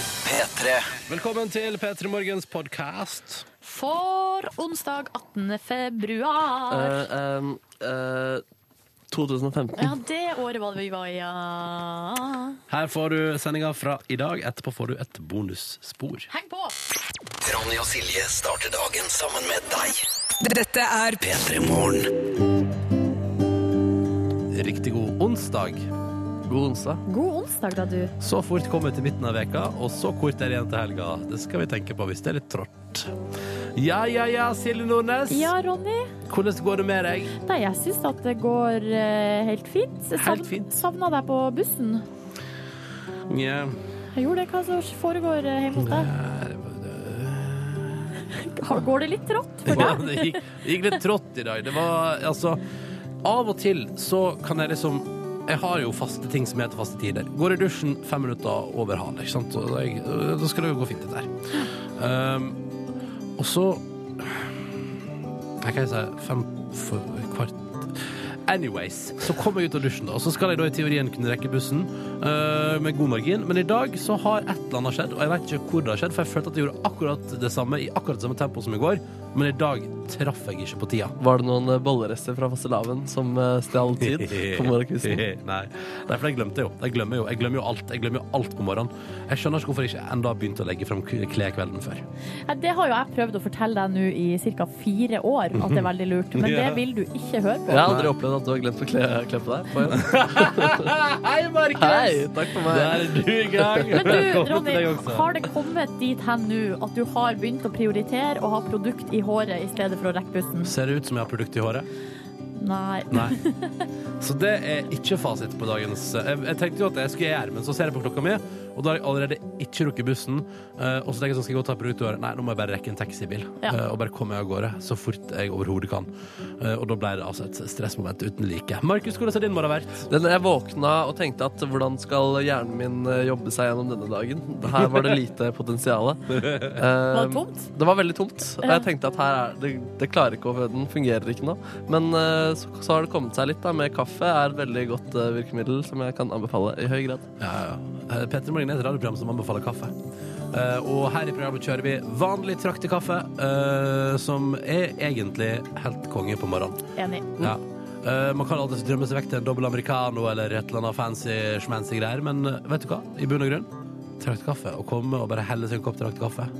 P3. Velkommen til P3 Morgens podkast. For onsdag 18. februar. Eh, ehm, eh, 2015. Ja, det året var det vi var i, ja. Her får du sendinga fra i dag. Etterpå får du et bonusspor. Heng på! Ronny og Silje starter dagen sammen med deg. Dette er P3 Morgen. Riktig god onsdag. God onsdag. God onsdag, da, du. Så fort kommer vi til midten av veka, og så kort er det igjen til helga. Det skal vi tenke på hvis det er litt trått. Ja, ja, ja, Silje Nordnes. Ja, Ronny. Hvordan går det med deg? Nei, jeg syns at det går eh, helt fint. Jeg Helt fint. Savna deg på bussen. Ja, Jeg gjorde det. Hva som foregår eh, hjemme hos deg? Har- Går det litt trått for deg? det gikk, det gikk litt trått i dag. Det var altså Av og til så kan jeg liksom jeg har jo faste ting som heter faste tider. Går i dusjen fem minutter over halv. Ikke sant? Så da, jeg, da skal det jo gå fint, dette her. Um, og så Jeg kan si fem for kvart Anyways, så kom jeg ut av dusjen, da, og så skal jeg da i teorien kunne rekke bussen eh, med god margin. Men i dag så har et eller annet skjedd, og jeg vet ikke hvor det har skjedd, for jeg følte at jeg gjorde akkurat det samme i akkurat samme tempo som i går, men i dag traff jeg ikke på tida. Var det noen eh, bollerester fra fastelavn som eh, stjal tid på morgenkvisten? Nei. Nei, for jeg glemte jo. Jeg glemmer jo. Jeg glemmer jo alt. Jeg glemmer jo alt på morgenen. Jeg skjønner ikke hvorfor jeg ikke enda har begynt å legge fram klær kvelden før. Nei, Det har jo jeg prøvd å fortelle deg nå i ca. fire år, at det er veldig lurt. Men det Ja. vil du ikke høre Jeg på. har aldri opplevd at du har glemt å kle, kle på deg. På en. Hei, Markus! Hei, takk for meg. Der er du i gang. Men du, Velkommen til Ronny, deg også. har det kommet dit hen nå at du har begynt å prioritere å ha produkt i håret i stedet for å rekke bussen? Ser det ut som jeg har produkt i håret? Nei. Nei. Så det er ikke fasit på dagens eh, Jeg, jeg tenkte jo at jeg skulle gjøre men så ser jeg på klokka mi, og da har jeg allerede ikke rukket bussen. eh, og så tenker jeg sånn, skal jeg gå og ta produkt i håret? Nei, nå må jeg bare rekke en taxibil. Ja. eh, og bare komme meg av gårde så fort jeg overhodet kan. Eh, og da ble det altså et stressmoment uten like. Markus, hvordan har din morgen vært? Den, jeg våkna og tenkte at hvordan skal hjernen min eh, jobbe seg gjennom denne dagen? Her var det lite potensial. Var Um, det tomt? Det var veldig tomt. Og jeg tenkte at her er det, det klarer ikke å Den fungerer ikke nå. Men eh, så, så har det kommet seg litt, da. Med kaffe er et veldig godt eh, virkemiddel som jeg kan anbefale i høy grad. Ja, ja. Eh, Petter Morgen er et radioprogram som anbefaler kaffe. Eh, og her i programmet kjører vi vanlig traktekaffe, eh, som er egentlig helt konge på morgenen. Enig. Ja. Eh, man kan alltid drømme seg vekk til en dobbel americano eller et eller annet fancy schmancy greier, men eh, vet du hva? I bunn og grunn, traktkaffe. Å komme og bare helle seg en kopp traktkaffe.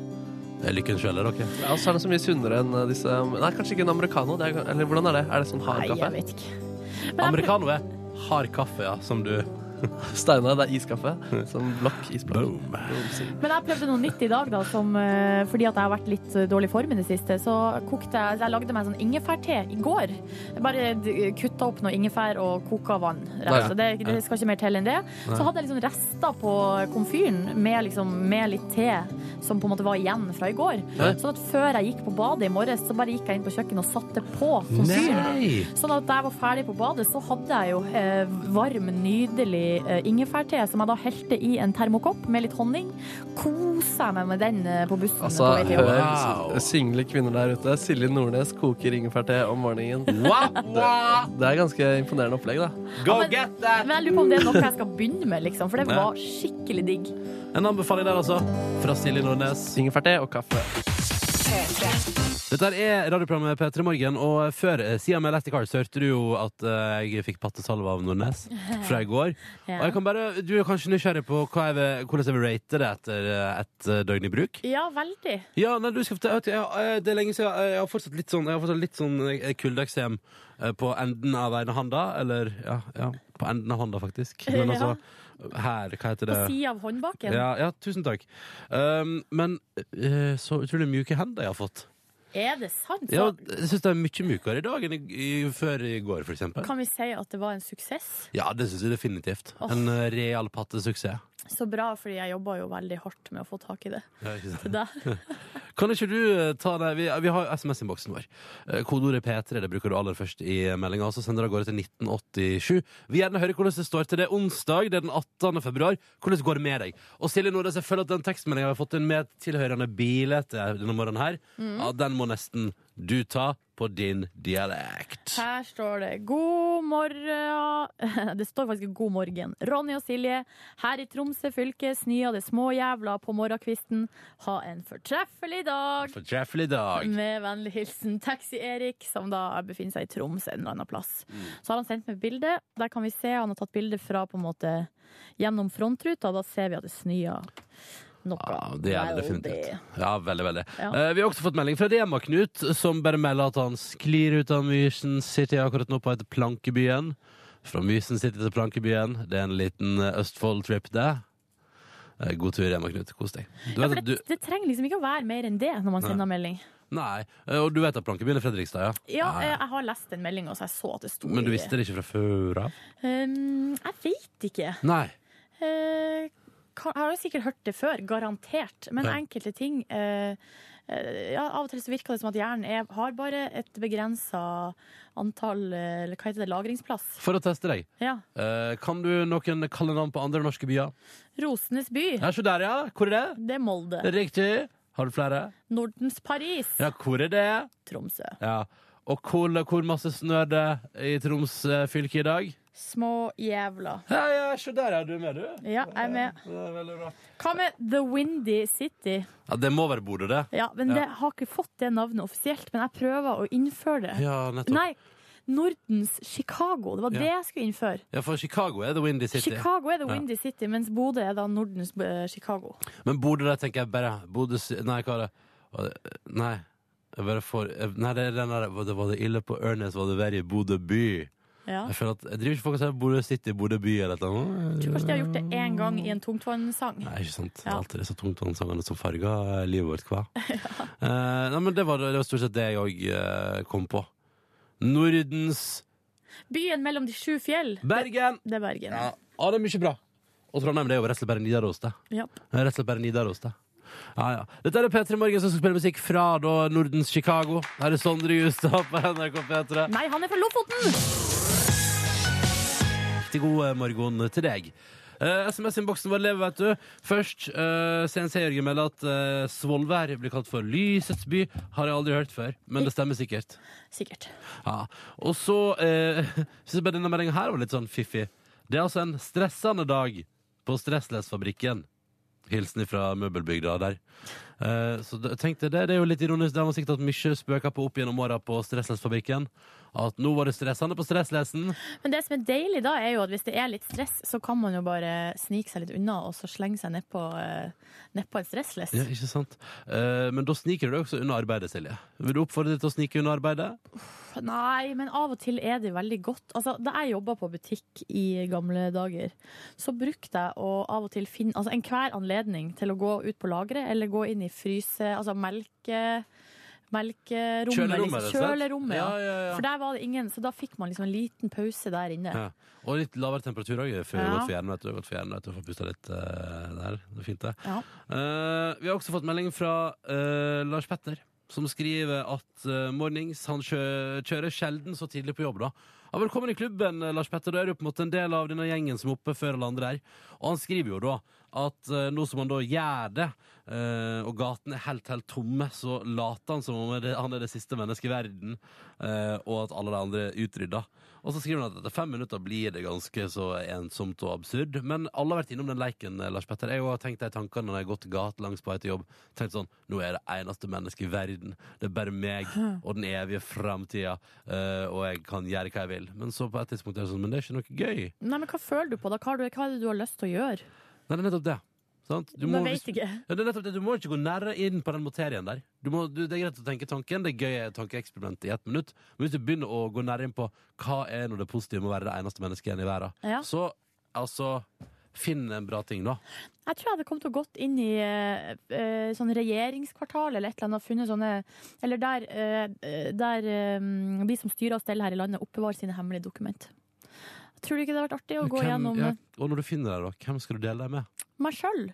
Det er lykken selv, er dere. Ja, og så er den så mye sunnere enn eh, disse Nei, kanskje ikke en americano. Det er, eller hvordan er det? Er det sånn hard Nei, jeg kaffe? vet ikke. Americano er hard kaffe, ja, som du Steinar, det er iskaffe. Som blokk. Isblokk. Boom. Men jeg prøvde noe nytt i dag, da, som, eh, fordi at jeg har vært litt eh, dårlig i form i det siste. Så kokte jeg, jeg lagde meg sånn ingefærte i går. Jeg Bare d- kutta opp noe ingefær og koka vann. Rett. Nei. Så det, det skal ikke mer til enn det. Så hadde jeg liksom rester på komfyren med, liksom, med litt te som på en måte var igjen fra i går. Ja. Sånn at før jeg gikk på badet i morges, så bare gikk jeg inn på kjøkkenet og satte på komfyren. Nei! Sånn at da jeg var ferdig på badet, så hadde jeg jo eh, varm, nydelig eh, ingefærte som jeg da helte i en termokopp med litt honning. Kosa meg med den eh, på bussen. Altså, på vei til jobb. hør Wow. single kvinner der ute. Silje Nordnes koker ingefærte om morgenen. Wow, wow. Det er ganske imponerende opplegg, da. Go men- get that! Men jeg lurer på om det er noe jeg skal begynne med, liksom, for det var skikkelig digg. En anbefaling der, altså. Fra Silje Nordnes. Ingefærte og kaffe. Dette her er radioprogrammet P3 Morgen, og før eh, siden med Elastic Heart så hørte du jo at eh, jeg fikk pattesalve av Nordnes fra i går. Og jeg kan bare, du er kanskje nysgjerrig på hva jeg vil, hvordan jeg vil rate det etter eh, et eh, døgn i bruk? Ja, veldig. Ja, nei, du skal fortelle, vet du, jeg, jeg- det er lenge siden, jeg, jeg har fortsatt litt sånn, jeg har fortsatt litt sånn eh, kuldeksem eh, på enden av ene handa, eller ja, ja, på enden av handa faktisk. Men altså, Ja. her, hva heter På det? sida av håndbaken. Ja, ja, tusen takk. Um, men eh, så utrolig mjuke hender jeg har fått. Er det sant? Så Ja, jeg syns det er mye mykere i dag enn i, i, før i går, for eksempel. kan vi si at det var en suksess. Ja, det syns jeg definitivt. Åh. En eh, real pattesuksess. Så bra, fordi jeg jobba jo veldig hardt med å få tak i det. Ja, ikke sant? Til deg. Kan ikke du eh, ta det Vi, vi har jo SMS-innboksen vår. Eh, Kodeordet P3 det bruker du aller først i meldinga. Så sender du av gårde til 1987. Vi gjerne hører hvordan det står til. Det er onsdag, det er den 18. februar. Hvordan går det med deg? Og Silje Nordnes, jeg eh, Mm. føler at den tekstmeldinga vi har fått inn med tilhørende bilde til denne morgenen her, ja, den må nesten du ta på din dialekt. Her står det 'God morgen'. Det står faktisk 'God morgen'. Ronny og Silje, her i Tromsø fylke snør det småjævla på morgenkvisten. Ha en fortreffelig dag! Fortreffelig dag. Med vennlig hilsen Taxi-Erik, som da befinner seg i Troms en eller annen plass. Mm. Så har han sendt meg et bilde. Der kan vi se, han har tatt bilde fra på en måte gjennom frontruta. Da ser vi at det snør noe. Ja, det er det veldig. definitivt. Ja, veldig, veldig. Ja. Eh, vi har også fått melding fra Rema-Knut, som bare melder at han sklir ut av Mysen City akkurat nå på et Plankebyen. Fra Mysen City til Plankebyen. Det er en liten eh, Østfold-trip, det. Eh, God tur, Rema-Knut. Kos deg. Du vet, Ja, for at du, det, det trenger liksom ikke å være mer enn det når man sender melding. nei, eh, og du vet at Plankebyen er Fredrikstad, ja? Ja, Nei. eh, jeg har lest den meldinga, så jeg så at det sto Men du i- visste det ikke fra før av? Um, jeg veit ikke. Nei. Eh, kan, jeg har jo sikkert hørt det før, garantert. Men Ja. enkelte ting eh, eh, ja, Av og til så virker det som at hjernen er, har bare et begrensa antall eh, eller hva heter det, lagringsplass. For å teste deg, Ja. eh, kan du noen kallenavn på andre norske byer? Rosenes by, Ja, se der, ja. Hvor er det? det er Molde. Riktig. Har du flere? Nordens Paris, Ja, hvor er det? Tromsø. Ja. Og hvor, hvor masse snør det i Troms eh, fylke i dag? Små jævla. Ja, ja, se der, ja. Du er med, du. Ja, jeg er med. Det er veldig bra. Hva med The Windy City? Ja, det må være Bodø, det. Ja, men Ja. det har ikke fått det navnet offisielt, men jeg prøver å innføre det. Ja, nettopp. Nei, Nordens Chicago. Det var Ja. det jeg skulle innføre. Ja, for Chicago er The Windy City. Chicago er The Ja. Windy City, mens Bodø er da Nordens eh, Chicago. Men Bodø, der tenker jeg bare Bodø si- Nei, hva er det? Var det- Nei. Jeg bare får jeg- Nei, det er den der Var det, var det ille på Ørnes, var det verre i Bodø by? Ja. Jeg føler at Jeg driver ikke folk og sier Bodø City, Bodø by eller et eller annet. Jeg tror kanskje de har gjort det én gang i en tungtvannssang. Nei, ikke sant. Ja. Alt er så tungt ansangende som farger livet vårt, hva? Eh, nei, men det var, det var stort sett det jeg òg kom på. Nordens Byen mellom de sju fjell. Bergen! Det er Bergen. Ja, det er mye bra. Og Trondheim det er jo rett og slett bare Nidaros, det. Ja. Det er Rett og slett bare Nidaros, det. Ja, ja. Dette er P3 Morgen som skal spille musikk fra da, Nordens Chicago. Her er Sondre Justad på NRK P3. Nei, han er fra Lofoten! Riktig god morgen til deg. Eh, SMS-innboksen vår lever, vet du. Først, uh, CNC-Jørgen melder at eh, Svolvær blir kalt for Lysets by. Har jeg aldri hørt før, men det stemmer sikkert. Sikkert. Ja. Og så uh, syns jeg bare denne meldingen her var litt sånn fiffig. Det er altså en stressende dag på Stressless-fabrikken. Hilsen fra møbelbygda der. Eh, så da- tenkte jeg det, det er jo litt ironisk. Det var sikkert at mye spøker på opp gjennom åra på Stressless-fabrikken. At nå var det stressende på Stresslesen. Men det som er deilig da, er jo at hvis det er litt stress, så kan man jo bare snike seg litt unna og så slenge seg nedpå ned på en stressless. Ja, ikke sant? Eh, men da sniker du deg også unna arbeidet, Silje. Vil du oppfordre deg til å snike unna arbeidet? Nei, men av og til er det veldig godt. Altså, da jeg jobba på butikk i gamle dager, så brukte jeg å av og til finne altså, enhver anledning til å gå ut på lageret eller gå inn i fryse... Altså melke... Melkerommet. Kjølerommet, liksom. rett og slett. Kjølerommet, ja. Ja, ja, ja. For der var det ingen, så da fikk man liksom en liten pause der inne. Ja. Og litt lavere temperatur òg. Godt Ja. for hjernen. vet du. Godt for hjernen, vet du. Få pusta litt eh, der. Det er fint, det. Ja. Eh, vi har også fått melding fra eh, Lars Petter, som skriver at eh, mornings han kjø kjører sjelden så tidlig på jobb. da. Ja, velkommen i klubben, eh, Lars Petter. Da er du på en måte en del av denne gjengen som er oppe før alle andre her. Og han skriver jo da at eh, nå som han da gjør det, eh, og gatene er helt, helt tomme, så later han som om det- han er det siste mennesket i verden, eh, og at alle de andre er utrydda. Og så skriver han at etter fem minutter blir det ganske så ensomt og absurd. Men alle har vært innom den leiken, eh, Lars Petter. Jeg har også tenkt de tankene når jeg har gått gatelangs på vei til jobb. Tenkt sånn Nå er det eneste mennesket i verden. Det er bare meg og den evige framtida. eh, og jeg kan gjøre hva jeg vil. Men så på et tidspunkt er det sånn Men det er ikke noe gøy. Nei, men hva føler du på da? Hva, har du, hva er det du har lyst til å gjøre? Nei, det er nettopp det. Sant? Du må- Man vet ikke. ja, det er nettopp det. Du må ikke gå nærmere inn på den materien der. Du må, du, det er greit å tenke tanken, det er gøy tankeeksperiment i ett minutt. Men hvis du begynner å gå nærmere inn på hva er nå det positive med å være det eneste mennesket igjen i verden, Ja. så altså Finn en bra ting, da. Jeg tror jeg hadde kommet og gått inn i eh, eh, sånn regjeringskvartal eller et eller annet og funnet sånne Eller der, eh, der eh, de som styrer og steller her i landet, oppbevarer sine hemmelige dokument. Tror du ikke det hadde vært artig å gå Hvem- gjennom ja, eh, og når du finner det, da, hvem skal du dele det med? meg sjøl?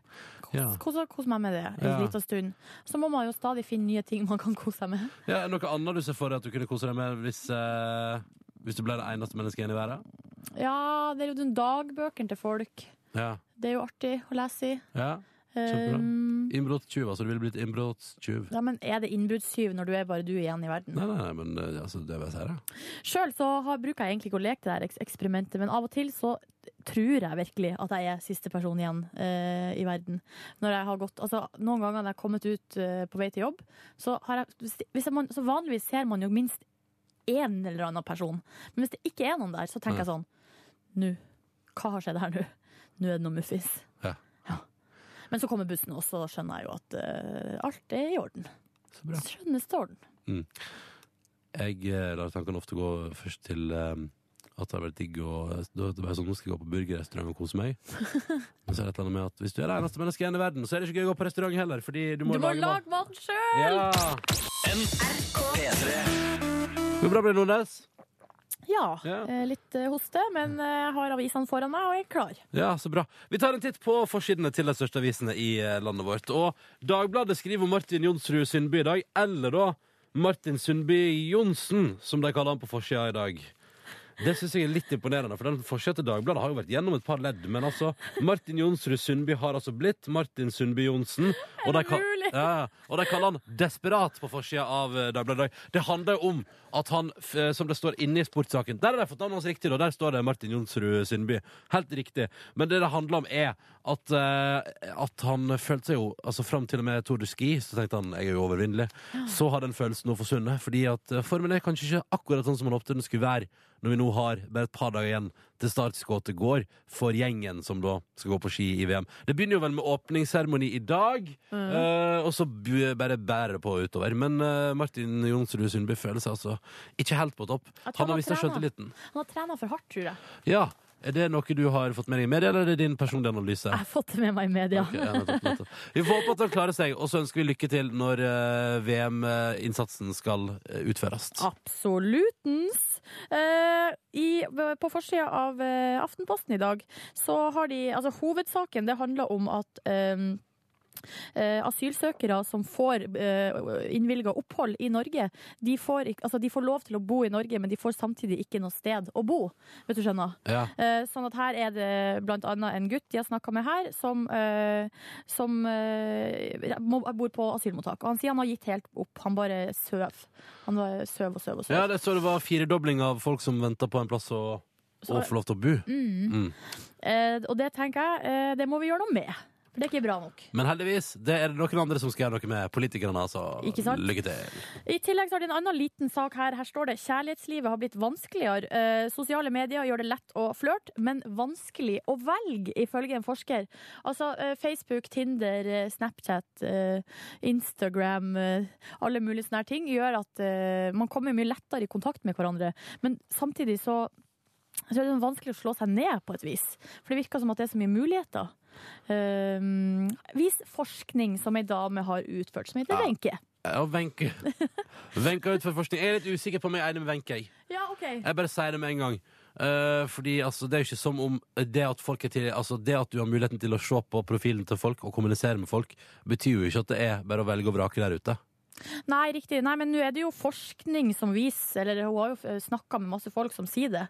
Ja. Kose kose meg med det en Ja. liten stund. Så må man jo stadig finne nye ting man kan kose seg med. Ja, er det noe annet du ser for deg at du kunne kose deg med hvis, eh, hvis du ble det eneste mennesket igjen i verden? Ja, det er jo den dagbøkene til folk. Ja. Det er jo artig å lese i. ja. Kjempebra. Um, Innbruddstyver, så du ville blitt innbruddstyv. Ja, men er det innbruddstyv når du er bare du igjen i verden? Nei, nei, nei, men eh, altså, det vil jeg si, da. Sjøl så har, bruker jeg egentlig ikke å leke det der eks- eksperimentet, men av og til så tror jeg virkelig at jeg er siste person igjen eh, i verden. Når jeg har gått, altså Noen ganger når jeg har kommet ut eh, på vei til jobb, så har jeg, hvis jeg man, så vanligvis ser man jo minst én eller annen person. Men hvis det ikke er noen der, så tenker jeg Mm. sånn Nå, hva har skjedd her nå? Nå er det noe muffis. Ja. Men så kommer bussen, og så skjønner jeg jo at eh, alt er i orden. Så bra. Skjønnes til orden. Jeg eh, lar tankene ofte gå først til eh, at det har vært digg å Da er det bare sånn, nå skal jeg gå på burgerrestaurant og kose meg. Men så er det et eller annet med at hvis du er det eneste mennesket igjen i verden, så er det ikke gøy å gå på restaurant heller, fordi du må, Du må mat. lage mat sjøl! Ja. Går det bra med deg, Nordnes? Ja. Ja. eh, Litt eh, hoste, men eh, jeg har avisene foran meg og jeg er klar. Ja, så bra. Vi tar en titt på forsidene til de største avisene i eh, landet vårt. Og Dagbladet skriver om Martin Jonsrud Sundby i dag, eller da Martin Sundby Johnsen, som de kaller han på forsida i dag. Det syns jeg er litt imponerende, for den forsida til Dagbladet har jo vært gjennom et par ledd. Men altså, Martin Jonsrud Sundby har altså blitt Martin Sundby Johnsen. Og de, kal- mulig? ja, og de kaller han desperat på forsida av eh, Dagbladet i dag. Det handler jo om at han, f- eh, som det står inne i sportssaken Der har de fått navnet hans riktig, da. Der står det Martin Jonsrud Sundby. Helt riktig. Men det det handler om, er at, eh, at han følte seg jo Altså fram til og med Tour de Ski, så tenkte han jeg er jo overvinnelig. Så har den følelsen nå forsvunnet, fordi at eh, formen er kanskje ikke akkurat sånn som han håpte den skulle være når vi nå har bare et par dager igjen til startskuddet går for gjengen som da skal gå på ski i VM. Det begynner jo vel med åpningsseremoni i dag, eh, og så bu- bare bærer det på utover. Men eh, Martin Jonsrud Sundby føler seg altså ikke helt på topp. Jeg tror Han han har har mista trenet. sjøltilliten. Han har trena for hardt, tror jeg. Ja. Er det noe du har fått med deg i media, eller er det din personlige analyse? Jeg har fått det med meg i media. Ok, ja, nettopp, nettopp. Vi får håpe at han klarer seg, og så ønsker vi lykke til når eh, VM-innsatsen skal eh, utføres. Absolutens. Eh, i, på forsida av eh, Aftenposten i dag så har de Altså, hovedsaken det handler om at eh, eh, asylsøkere som får eh, innvilga opphold i Norge, de får, ikk- altså, de får lov til å bo i Norge, men de får samtidig ikke noe sted å bo. Vet du, skjønner? Ja. Eh, Sånn at her er det blant annet en gutt jeg snakket med her, som, eh, som eh, må- bor på asylmottak. Og han sier han har gitt helt opp. Han bare søv. Han bare søv og søv og søv. ja, det så det var firedobling av folk som venta på en plass å, å få lov til å bo. Mm. Eh, Og det tenker jeg, eh, det må vi gjøre noe med. For det er ikke bra nok. Men heldigvis, det er det noen andre som skal gjøre noe med. Politikerne, altså. Ikke sant? Lykke til. I tillegg så har de en annen liten sak her. Her står det kjærlighetslivet har blitt vanskeligere. Eh, sosiale medier gjør det lett å flørte, men vanskelig å velge, ifølge en forsker. Altså eh, Facebook, Tinder, eh, Snapchat, eh, Instagram, eh, alle mulige sånne her ting gjør at eh, man kommer mye lettere i kontakt med hverandre. Men samtidig så så er det sånn vanskelig å slå seg ned på et vis. For det virker som at det er så mye muligheter. Eh, vis forskning som ei dame har utført, som heter Ja. Wenche. Ja, Wenche. Wenche er ut for forskning. Jeg er litt usikker på om jeg er enig med Wenche. jeg. Ja, ok. Jeg bare sier det med en gang. Eh, fordi altså, Det er jo ikke som om det at, folk er til, altså, det at du har muligheten til å se på profilen til folk og kommunisere med folk, betyr jo ikke at det er bare å velge og vrake der ute. Nei, riktig. Nei, men nå er det jo forskning som viser, eller hun har jo snakka med masse folk som sier det.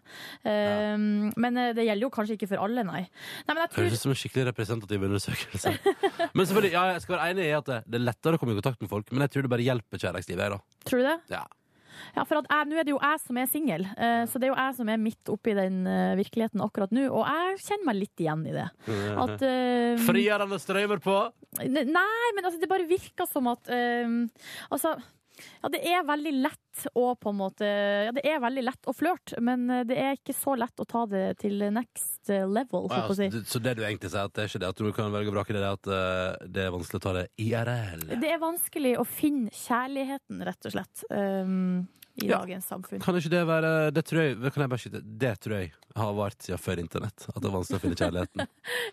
Ehm, Men eh, det gjelder jo kanskje ikke for alle, nei. Nei, men jeg tror Høres ut som en skikkelig representativ undersøkelse. Men selvfølgelig, ja, jeg skal være enig i at det, det er lettere å komme i kontakt med folk, men jeg tror det bare hjelper kjærlighetslivet. jeg, da. Tror du det? Ja. Ja, for at jeg, nå er det jo jeg som er singel, eh, så det er jo jeg som er midt oppi den eh, virkeligheten akkurat nå, og jeg kjenner meg litt igjen i det. At eh, Frigjørende strømmer på. Ne- Nei, men altså, det bare virker som at øhm, Altså, ja, det er veldig lett å på en måte Ja, det er veldig lett å flørte, men eh, det er ikke så lett å ta det til next eh, level, Ja, altså, holdt på å si. så- Så det du egentlig sier, at det er ikke det at du kan velge og vrake, det er at eh, det er vanskelig å ta det IRL? Det er vanskelig å finne kjærligheten, rett og slett, øhm, i Ja. dagens samfunn. Kan ikke det være Det tror jeg, kan jeg bare skyte, det tror jeg har vært siden før internett. At det er vanskelig å finne kjærligheten.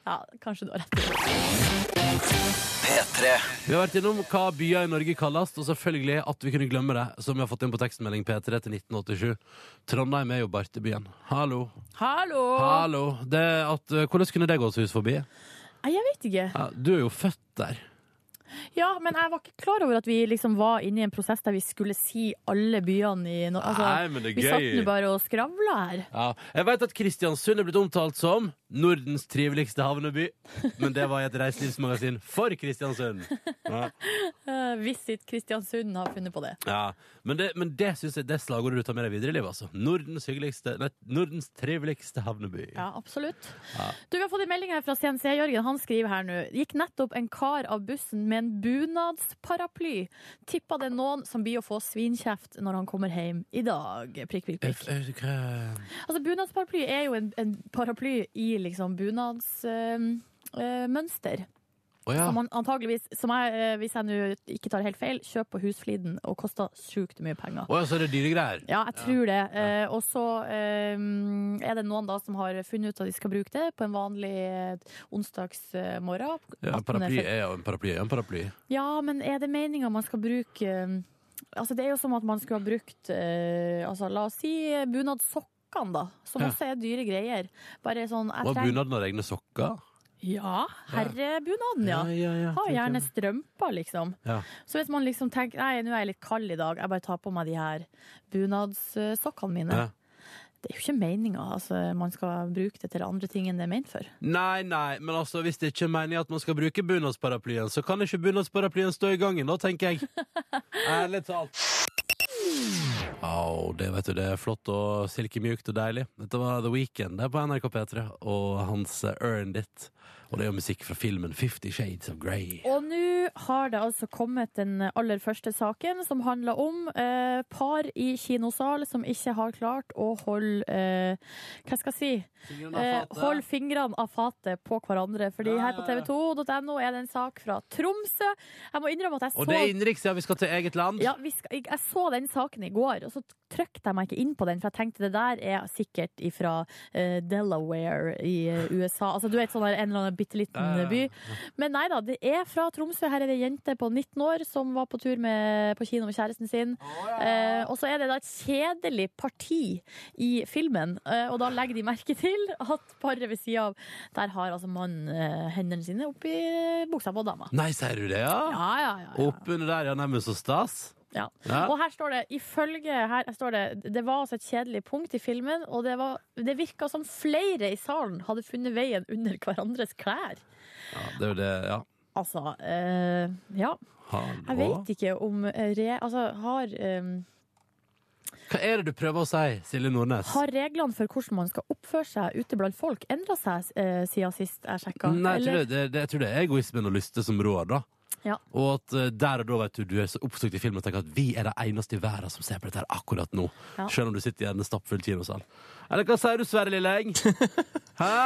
Ja, kanskje du har rett. P3. Vi har vært innom hva byer i Norge kalles, og selvfølgelig at vi kunne glemme det, som vi har fått inn på tekstmelding P3 til 1987. Trondheim er jo bartebyen. Hallo. Hallo! Hallo. Det at, eh, hvordan kunne det gått hus forbi? Nei, Jeg vet ikke. Ja, du er jo født der. Ja, men jeg var ikke klar over at vi liksom var inne i en prosess der vi skulle si alle byene i Norge. Altså, men det vi satt nå bare og skravla her. Ja, jeg vet at Kristiansund er blitt omtalt som Nordens triveligste havneby. Men det var i et reiselivsmagasin for Kristiansund. Ja. Eh, Visit Kristiansund har funnet på det. Ja, men det, men det synes jeg det er slagordet du tar med deg videre i livet. altså. Nordens hyggeligste, nei, Nordens triveligste havneby. Ja, absolutt. Du, Vi har fått en melding her fra CNC. Jørgen han skriver her nå. Gikk nettopp en kar av bussen med en bunadsparaply. Tippa det er noen som blir å få svinkjeft når han kommer hjem i dag. Prikk, prikk, prikk. F- eh, hva- Altså, Bunadsparaply er jo en, en paraply i liksom bunadsmønster. Å ja. Som man antageligvis, som jeg, eh, hvis jeg nå ikke tar helt feil, kjøper på Husfliden og koster sjukt mye penger. Å ja, så er det dyre greier. Ja, jeg tror det. Eh, og så eh, er det noen da som har funnet ut at de skal bruke det på en vanlig eh, onsdagsmorgen. Ja, paraply er jo en paraply. Er jo en paraply. ja, men er det meninga man skal bruke eh, Altså, det er jo som at man skulle ha brukt eh, Altså, la oss si bunadssokkene, da. Som Ja. også er dyre greier. Bare sånn jeg Og trenger- bunaden har egne sokker. Ja, herrebunaden, ja. ja, ja. Ha tenker gjerne jeg. strømper, liksom. Ja. Så hvis man liksom tenker nei, nå er jeg litt kald i dag, jeg bare tar på meg de her bunadssokkene mine. Ja. Det er jo ikke meninga. Altså, man skal bruke det til andre ting enn det er ment for. Nei, nei, men altså, hvis det ikke er meningen at man skal bruke bunadsparaplyen, så kan ikke bunadsparaplyen stå i gangen, da, tenker jeg. Ærlig talt. Au, det vet du, det er flott og silkemjukt og deilig. Dette var The Weeknd det er på NRK P3, og hans eh, Earned It. Og det er jo musikk fra filmen Fifty Shades of Grey. Og nå har det altså kommet den aller første saken, som handler om eh, par i kinosal som ikke har klart å holde eh, Hva skal jeg si? Eh, hold fingrene av fatet på hverandre, Fordi Ja, ja, her på ja. tv2.no er det en sak fra Tromsø. Jeg må innrømme at jeg Og det er så innenriks, ja, vi skal til eget land. ja, vi skal, jeg, jeg så den saken i går, og så trykte jeg meg ikke inn på den, for jeg tenkte det der er sikkert ifra eh, Delaware i eh, USA. Altså du vet sånn der, en eller annen bitte liten Ja, ja, ja. by. Men nei da, det er fra Tromsø. Her er det ei jente på 19 år som var på tur med, på kino med kjæresten sin. Eh, og så er det da et kjedelig parti i filmen, eh, og da legger de merke til at paret ved sida av Der har altså mannen eh, hendene sine oppi buksa på dama. Nei, sier du det, ja? Ja, ja, ja. ja. Oppunder der, ja, nærmest så stas. Ja. Ja. Og her står det ifølge her står det, det var altså et kjedelig punkt i filmen, og det, var, det virka som flere i salen hadde funnet veien under hverandres klær. Ja, det er jo det, ja. Altså, eh, ja. Hallo. Jeg vet ikke om eh, re, altså, har, eh, Hva er det du prøver å si, Silje Nordnes? har reglene for hvordan man skal oppføre seg ute blant folk, endra seg eh, siden sist jeg sjekka? Nei, jeg tror det, det, det, jeg tror det er egoismen og lyste som rår, da. Ja. Og at eh, der og da vet du, du er så oppsøkt i filmen og tenker at vi er det eneste i verden som ser på dette her akkurat nå. Ja. Selv om du sitter i en stappfull kinosal. Eller hva sier du, Sverre Lilleng? Hæ?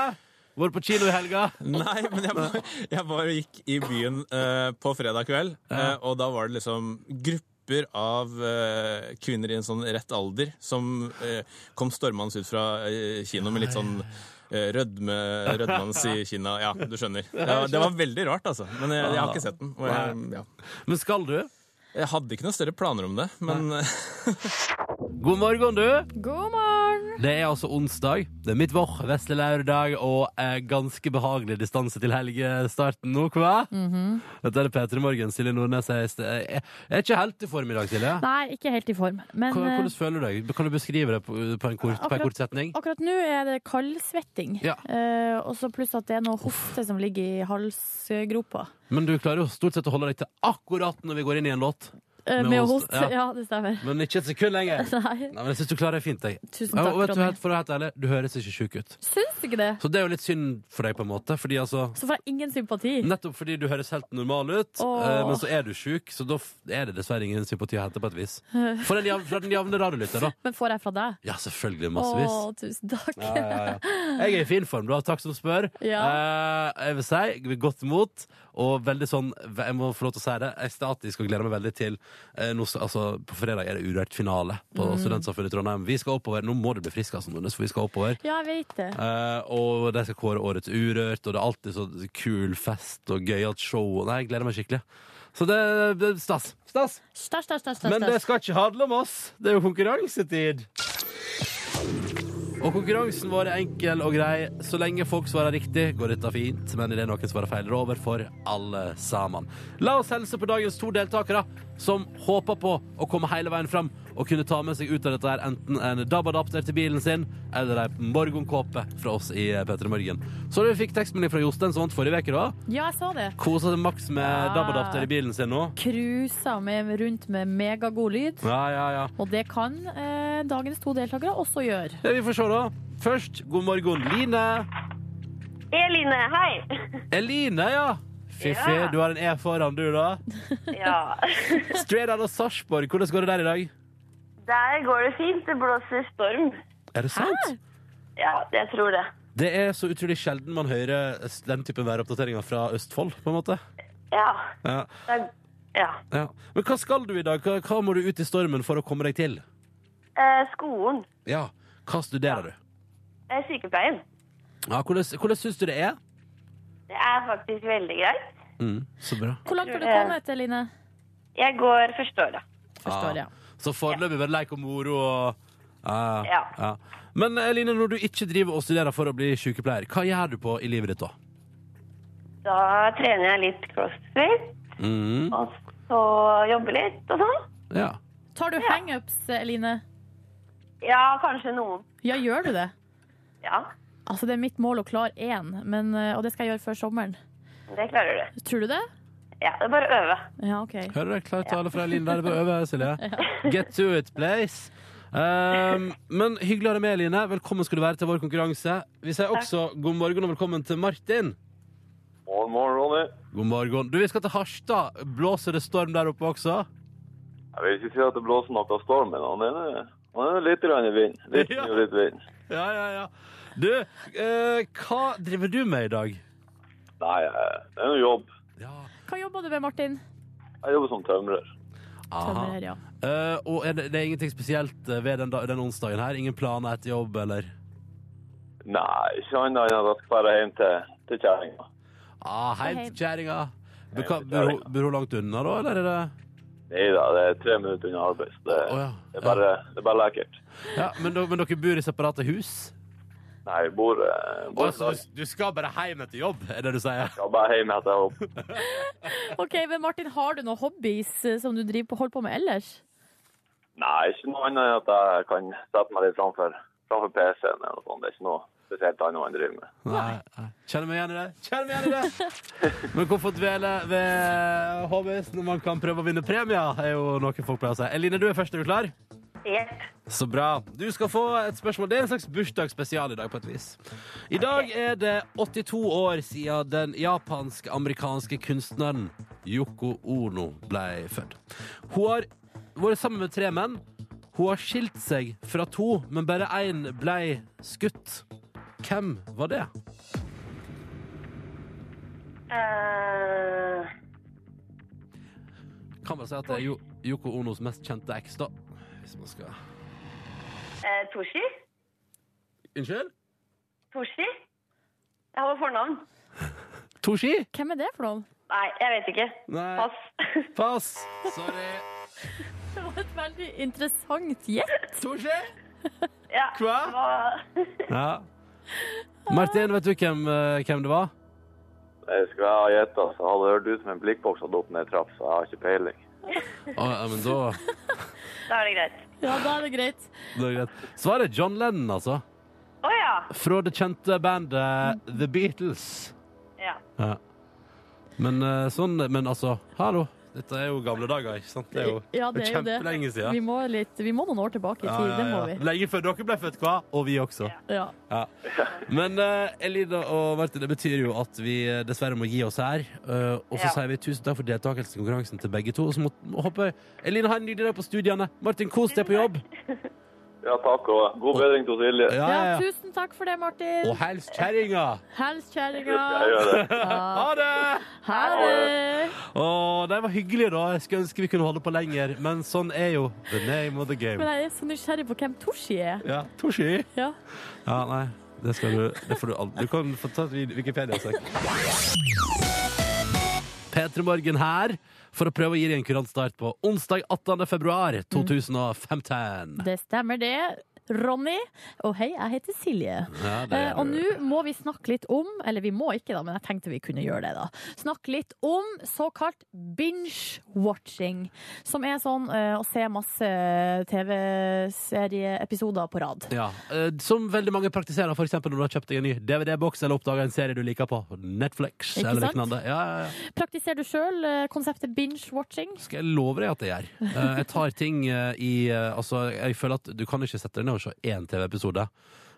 Vært på kino i helga? Nei, men jeg var, jeg var og gikk i byen eh, på fredag kveld, eh, og da var det liksom grupper av eh, kvinner i en sånn rett alder som eh, kom stormende ut fra eh, kino med litt sånn eh, rødme, rødmans i kinna. Ja, du skjønner. Det var, det var veldig rart, altså. Men jeg, jeg har ikke sett den. Og jeg, ja. Men skal du? jeg hadde ikke noe større planer om det, men God morgen, du! God morgen! Det er altså onsdag. Det er mitt vår, vesle lørdag, og eh, ganske behagelig distanse til helgestarten nå, hva? Mhm. Dette er P3 Morgen. Silje Nordnes er, i sted- jeg jeg er ikke helt i form i dag, Silje. Nei, ikke helt i form. Men Hvordan, eh, hvordan føler du deg? Kan du beskrive det på, på, en, kort, på en Akkurat- kort setning? akkurat nå er det kaldsvetting. Ja. Eh, og så pluss at det er noe hoste som ligger i halsgropa. Men du klarer jo stort sett å holde deg til akkurat når vi går inn i en låt. Eh, Med Med host, host, ja. ja. det stemmer. Men ikke et sekund lenger. Nei, Nei, men jeg synes du klarer det fint, jeg. Altså- tusen Ja, takk, og vet du, Ronny. helt, for å være helt ærlig, du høres ikke sjuk ut. Syns du ikke det? Så det er jo litt synd for deg, på en måte. Fordi altså Så får jeg ingen sympati. Nettopp fordi du høres helt normal ut, Åh. eh, men så er du sjuk, så da f- er det dessverre ingen sympati å hente på et vis. For den jav- Fra den javne radiolytter, da. Men får jeg fra deg? Ja, selvfølgelig. Å, Massevis. tusen takk. Ja, ja, ja. Jeg er i fin form, da. Takk som spør. Eh, jeg vil si jeg er godt mot, og veldig sånn Jeg må få lov til å si det. Jeg er statisk og gleder meg veldig til eh, nå, s- altså, På fredag er det urørt finale på Studentsamfunnet i Trondheim. Vi skal oppover. Nå må du bli frisk, altså, Nordnes, for vi skal oppover. Ja, jeg vet det. Eh, og de skal kåre årets Urørt, og det er alltid så kul fest og gøyalt show. Nei, jeg gleder meg skikkelig. Så det det er stas. Stas. Stasj, stasj, stasj, stasj, Men det stasj. skal ikke handle om oss. Det er jo konkurransetid. Og konkurransen vår er enkel og grei. Så lenge folk svarer riktig, går dette fint. Men idet noen svarer feil, er det over for alle sammen. La oss helse på dagens to deltakere, som håper på å komme hele veien fram og kunne ta med seg ut av dette her enten en DAB-adapter til bilen sin eller ei Borgon-kåpe fra oss i P3 Morgen. Så du fikk tekstmelding fra Jostein som vant forrige uke, da. Ja, jeg så det. Kosa seg maks med Ja. DAB-adapter i bilen sin nå. Cruisa med, rundt med megagod lyd. Ja, ja, ja. Og det kan eh, dagens to deltakere også gjøre. Ja, Vi får se, da. Først, god morgen, Line. Eline, hei! Eline, ja. Fiffi, Ja. du har en E foran, du, da. Ja, Stradad og Sarpsborg, hvordan går det der i dag? der går det fint. Det blåser storm. Er det sant? Ja, jeg tror det. Det er så utrolig sjelden man hører den typen væroppdateringer fra Østfold, på en måte. Ja. Ja, det- ja. ja. Men hva skal du i dag? Hva, hva må du ut i stormen for å komme deg til? Eh, skolen. Ja, hva studerer du? Eh, sykepleien. Ja, hvordan, hvordan syns du det er? Det er faktisk veldig greit. Mm, så bra. Hvor langt har du kommet, Eline? Jeg går første året. Ah. Forstår, ja. Så foreløpig bare leik og moro og Ja, Ja. ja. Men Eline, når du ikke driver og studerer for å bli sykepleier, hva gjør du på i livet ditt da? Da trener jeg litt crossfit, Mm, og så jobber litt og sånn. ja. Tar du hangups, Eline? Ja, kanskje noen. Ja, gjør du det? Ja, Altså, det er mitt mål å klare én, men, eh, og det skal jeg gjøre før sommeren. det klarer du. Tror du det? Ja, det er bare å øve. Ja, OK. Hører dere klart tale fra Eline der? Det er Bare å øve, Silje. Get to it, please. Um, men hyggelig å ha deg med, Eline. Velkommen skal du være til vår konkurranse. Vi sier også god morgen og velkommen til Martin. God morgen, Ronny. God morgen. Du, vi skal til Harstad. Blåser det storm der oppe også? Jeg vil ikke si at det blåser noe storm, men han er, han er litt grann i vind. Litt Ja. mye litt vind. Ja, ja, ja. Du, eh, hva driver du med i dag? Nei, jeg- det er noe jobb. Ja. Hva jobber du med, Martin? Jeg jobber som tømrer. Aha. Tømrer, ja. Eh, og er det, det er ingenting spesielt eh, ved den, da- den onsdagen her? Ingen planer etter jobb, eller? Nei, ikke annet enn at jeg skal være hjem til, til kjerringa. Ah, heim Hei. til kjerringa. Bor Heim til bor hun- kjerringa. bor hun langt unna, da, eller er det Nei da, det er tre minutter unna arbeid. så Det, Å, ja. Eh, det, er bare, det er bare lekkert. Ja, men, da- men dere bor i separate hus? Nei, jeg bor, eh, bor Altså, du, du skal bare hjem etter jobb, er det du sier? Jeg jobber hjemme etter jobb. OK, men Martin, har du noen hobbies eh, som du driver på, holder på med ellers? Nei, ikke noe annet enn at jeg kan sette meg litt framfor, framfor PC-en eller noe sånt. Det er ikke noe spesielt annet man driver med. Nei. nei. Kjenner meg igjen i det. Kjenner meg igjen i det! Men hvorfor dvele ved HBS når man kan prøve å vinne premier, er jo noe folk pleier å si. Eline, du er først. Er du klar? Jepp. Så bra. Du skal få et spørsmål. Det er en slags bursdagsspesial i dag, på et vis. I dag er det 82 år siden den japansk-amerikanske kunstneren Yoko Ono ble født. Hun har vært sammen med tre menn. Hun har skilt seg fra to, men bare én ble skutt. Hvem var det? Eh, Kan bare si at det er Jo- Yoko Onos mest kjente eks, da. Hvis man skal eh, Toshi? Unnskyld? Toshi? Jeg har fornavn. Toshi? Hvem er det for noen? Nei, jeg vet ikke. Nei. Pass. Pass. Sorry. Det var et veldig interessant gjett. Toshi? Ja. Hva? hva- Ja. Martin, vet du hvem, eh, hvem det var? Jeg skulle ha gjetta, så hadde det hørt ut som en blikkboks hadde opp ned i trapp, så jeg har ikke peiling. Å, ja, men da, Da er det greit. Ja, da er det greit. da er det greit. Svaret er John Lennon, altså. Å ja. Fra det kjente bandet The Beatles. ja. Ja. Men eh, sånn Men altså, hallo. Dette er jo gamle dager, ikke sant? Det er jo, Ja, det er jo det. kjempelenge Vi siden. må, litt, vi må noen år tilbake i Ja, tid. ja, Det må ja. vi. Lenge før dere ble født, hva? Og vi også. Ja. Ja. Men eh, Elina og Martin, det betyr jo at vi eh, dessverre må gi oss her. Eh, og så Ja. sier vi tusen takk for deltakelsen i konkurransen til begge to. Og så må, må håpe Elina har en nydelig dag på studiene. Martin, kos deg på jobb. Ja, takk, og god bedring til Silje. Ja, ja, ja, ja. tusen takk for det, Martin. Og hils kjerringa! Hils Jeg kjerringa. gjør det. Ha det! Ha det. Å, de var hyggelige, da. Jeg skulle ønske vi kunne holde på lenger, men sånn er jo the name of the game. Men jeg er så nysgjerrig på hvem Toshi er. Ja, Toshi. Ja. Ja, nei, det skal du Det får du aldri Du kan få ta et vid- Wikipedia-søk. P3 Morgen her for å prøve å gi Mm. deg en kurant start på onsdag 18. februar 2015. Det stemmer, det. Ronny. Og hei, jeg heter Silje. Ja, det Eh, er og du. nå må vi snakke litt om, eller vi må ikke da, men jeg tenkte vi kunne gjøre det da. Snakke litt om såkalt binge-watching, som er sånn eh, å se masse eh, TV-serieepisoder på rad. Ja, eh, Som veldig mange praktiserer, f.eks. når du har kjøpt deg en ny DVD-boks eller oppdaga en serie du liker på Netflix. Ikke eller sant? lignende. Ja, ja, ja. Praktiserer du sjøl eh, konseptet binge-watching? Skal jeg love deg at jeg gjør. Eh, Jeg tar ting eh, i eh, Altså, jeg føler at du kan ikke sette deg ned og se én TV-episode.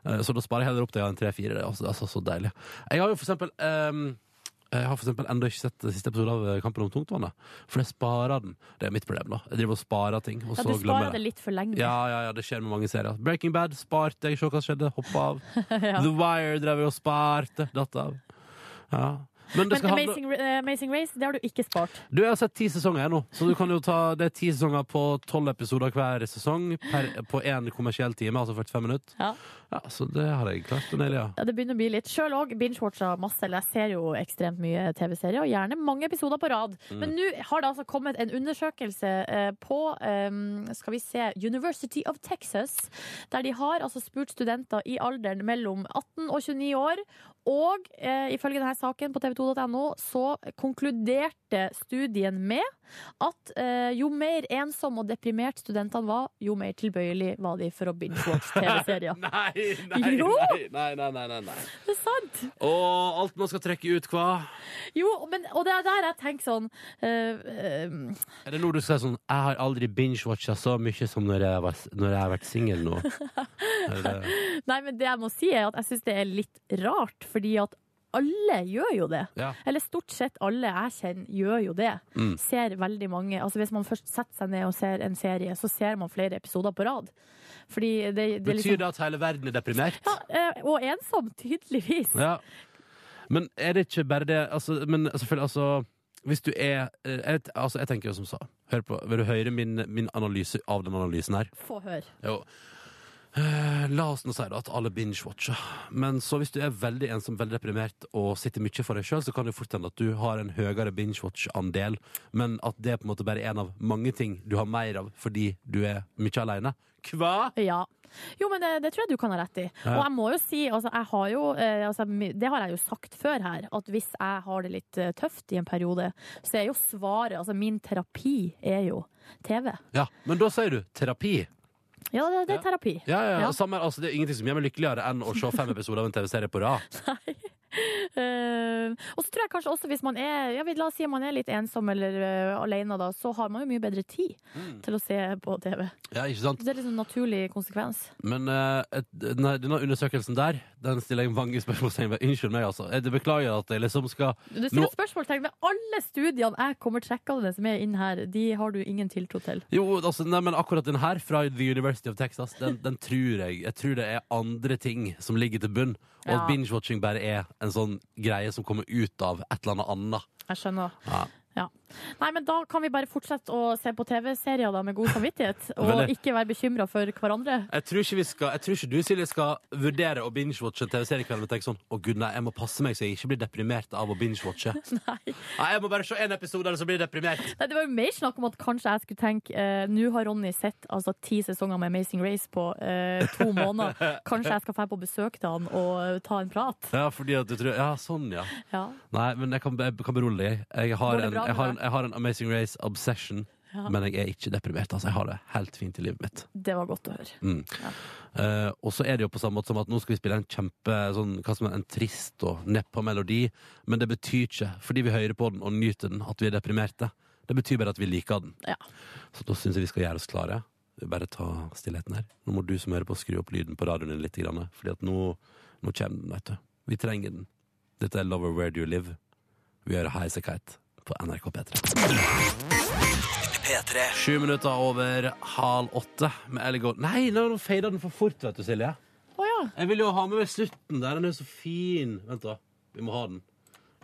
Eh, Så da sparer jeg heller opp til jeg har en tre-fire. Det er altså, altså så deilig. Jeg har jo for eksempel ehm, jeg har for eksempel enda ikke sett siste episode av eh, Kampen om tungtvannet. For jeg sparer den. Det er mitt problem, da. Jeg driver og sparer ting, og Ja, så du glemmer sparer jeg det. det litt for lenge. Ja, ja, ja, det skjer med mange serier. Breaking Bad sparte jeg, se hva som skjedde, hoppa av. The Wire drev jeg og sparte, datt av. Ja. Men det skal Men handle... Amazing, Ra- eh, Amazing Race, det har du ikke spart. Du jeg har sett ti sesonger jeg nå, så du kan jo ta det er ti sesonger på tolv episoder hver sesong per, på én kommersiell time, altså 45 minutter. Ja. Ja, så det har jeg klart å naile, ja. Ja, det begynner å bli litt. Sjøl òg binge-watcha masse. Eller jeg ser jo ekstremt mye TV-serier, og gjerne mange episoder på rad. Men nå har det altså kommet en undersøkelse eh, på eh, skal vi se, University of Texas. Der de har altså spurt studenter i alderen mellom 18 og 29 år. Og eh, ifølge denne saken på tv2.no så konkluderte studien med at eh, jo mer ensom og deprimert studentene var, jo mer tilbøyelig var de for å binge-watche TV-serier. Nei, nei, Jo! nei, nei, nei, nei, nei, nei. Det er sant! Og alt man skal trekke ut, hva? Jo, men, og det er der jeg tenker sånn eh, eh, Er det noe du skal si sånn Jeg har aldri binge-watcha så mye som når jeg, var, når jeg har vært singel nå. Er det- Nei, men det jeg må si er at jeg syns det er litt rart, fordi at alle gjør jo det. Ja. Eller stort sett alle jeg kjenner, gjør jo det. Mm. Ser veldig mange Altså Hvis man først setter seg ned og ser en serie, så ser man flere episoder på rad. Fordi det, det er Betyr liksom det at hele verden er deprimert? ja, eh, Og ensom, tydeligvis. Ja. Men er det ikke bare det altså, Men selvfølgelig, altså Hvis du er eh, jeg, altså, jeg tenker jo som så. Hør på, vil du høre min, min analyse av den analysen her? Få høre. Jo. Eh, La oss nå si da at alle binge-watcher. Men så hvis du er veldig ensom, veldig deprimert og sitter mye for deg sjøl, så kan det fort hende at du har en høyere binge-watch-andel, men at det på en måte bare er en av mange ting du har mer av fordi du er mye aleine. Hva? Ja. Jo, men det, det tror jeg du kan ha rett i. Ja. Og jeg må jo si, altså, jeg har jo, eh, altså, mi- det har jeg jo sagt før her, at hvis jeg har det litt eh, tøft i en periode, så er jo svaret, altså min terapi er jo TV. Ja, men da sier du terapi. Ja, det, det er terapi. Ja, ja, Ja. Samme, her, altså, det er ingenting som gjør meg lykkeligere enn å se fem episoder av en TV-serie på rad. Eh, og så tror jeg kanskje også hvis man er, ja, vi- la oss si man er litt ensom eller eh, alene da, så har man jo mye bedre tid Mm. til å se på TV. Ja, ikke sant? Det er liksom en naturlig konsekvens. Men eh, et, nei, denne undersøkelsen der Den stiller jeg mange spørsmålstegn ved. Unnskyld meg, altså. Jeg beklager at jeg liksom skal Du Nå- stiller et spørsmålstegn ved alle studiene jeg kommer trekkende som er inn her, de har du ingen tiltro til. Jo, altså, nei, men akkurat den her fra The University of Texas, den, den tror jeg Jeg tror det er andre ting som ligger til bunn. Og at Ja. binge-watching bare er en sånn greie som kommer ut av et eller annet annet. Jeg skjønner. Ja. Ja. Nei, men da kan vi bare fortsette å se på TV-serier da med god samvittighet, og Veldig. ikke være bekymra for hverandre. Jeg tror ikke, vi skal, jeg tror ikke du, Silje, skal vurdere å binge-watche en TV-seriekveld og tenke sånn Å, gud, nei, jeg må passe meg så jeg ikke blir deprimert av å binge-watche. Nei. Nei, jeg må bare se én episode, ellers så blir jeg deprimert. Nei, det var jo mer snakk om at kanskje jeg skulle tenke eh, Nå har Ronny sett altså, ti sesonger med Amazing Race på eh, to måneder. Kanskje jeg skal dra på besøk til han og eh, ta en prat. Ja, fordi at du tror Ja, sånn, ja. Ja. Nei, men jeg kan, jeg kan berolige deg. Jeg Går har, det en, bra jeg, med har deg? en, jeg har en Amazing Race obsession, Ja. men jeg er ikke deprimert. Altså, jeg har det helt fint i livet mitt. Det var godt å høre. Mm. Eh, og så er det jo på samme måte som at nå skal vi spille en kjempe sånn, hva som er, en trist og nedpå melodi, men det betyr ikke, fordi vi hører på den og nyter den, at vi er deprimerte. Det betyr bare at vi liker den. Ja. Så da syns jeg vi skal gjøre oss klare. Vi Bare ta stillheten her. Nå må du som hører på, skru opp lyden på radioen din litt, grann, fordi at nå, nå kommer den, vet du. Vi trenger den. Dette er Lover Where Do You Live. Vi gjør Highasakite på NRK P3. P3. Sju minutter over halv åtte med Ellie Gold. Nei, nå fada den for fort, vet du, Silje. Å ja. Jeg vil jo ha med meg slutten der. Den er jo så fin. Vent, da. Vi må ha den.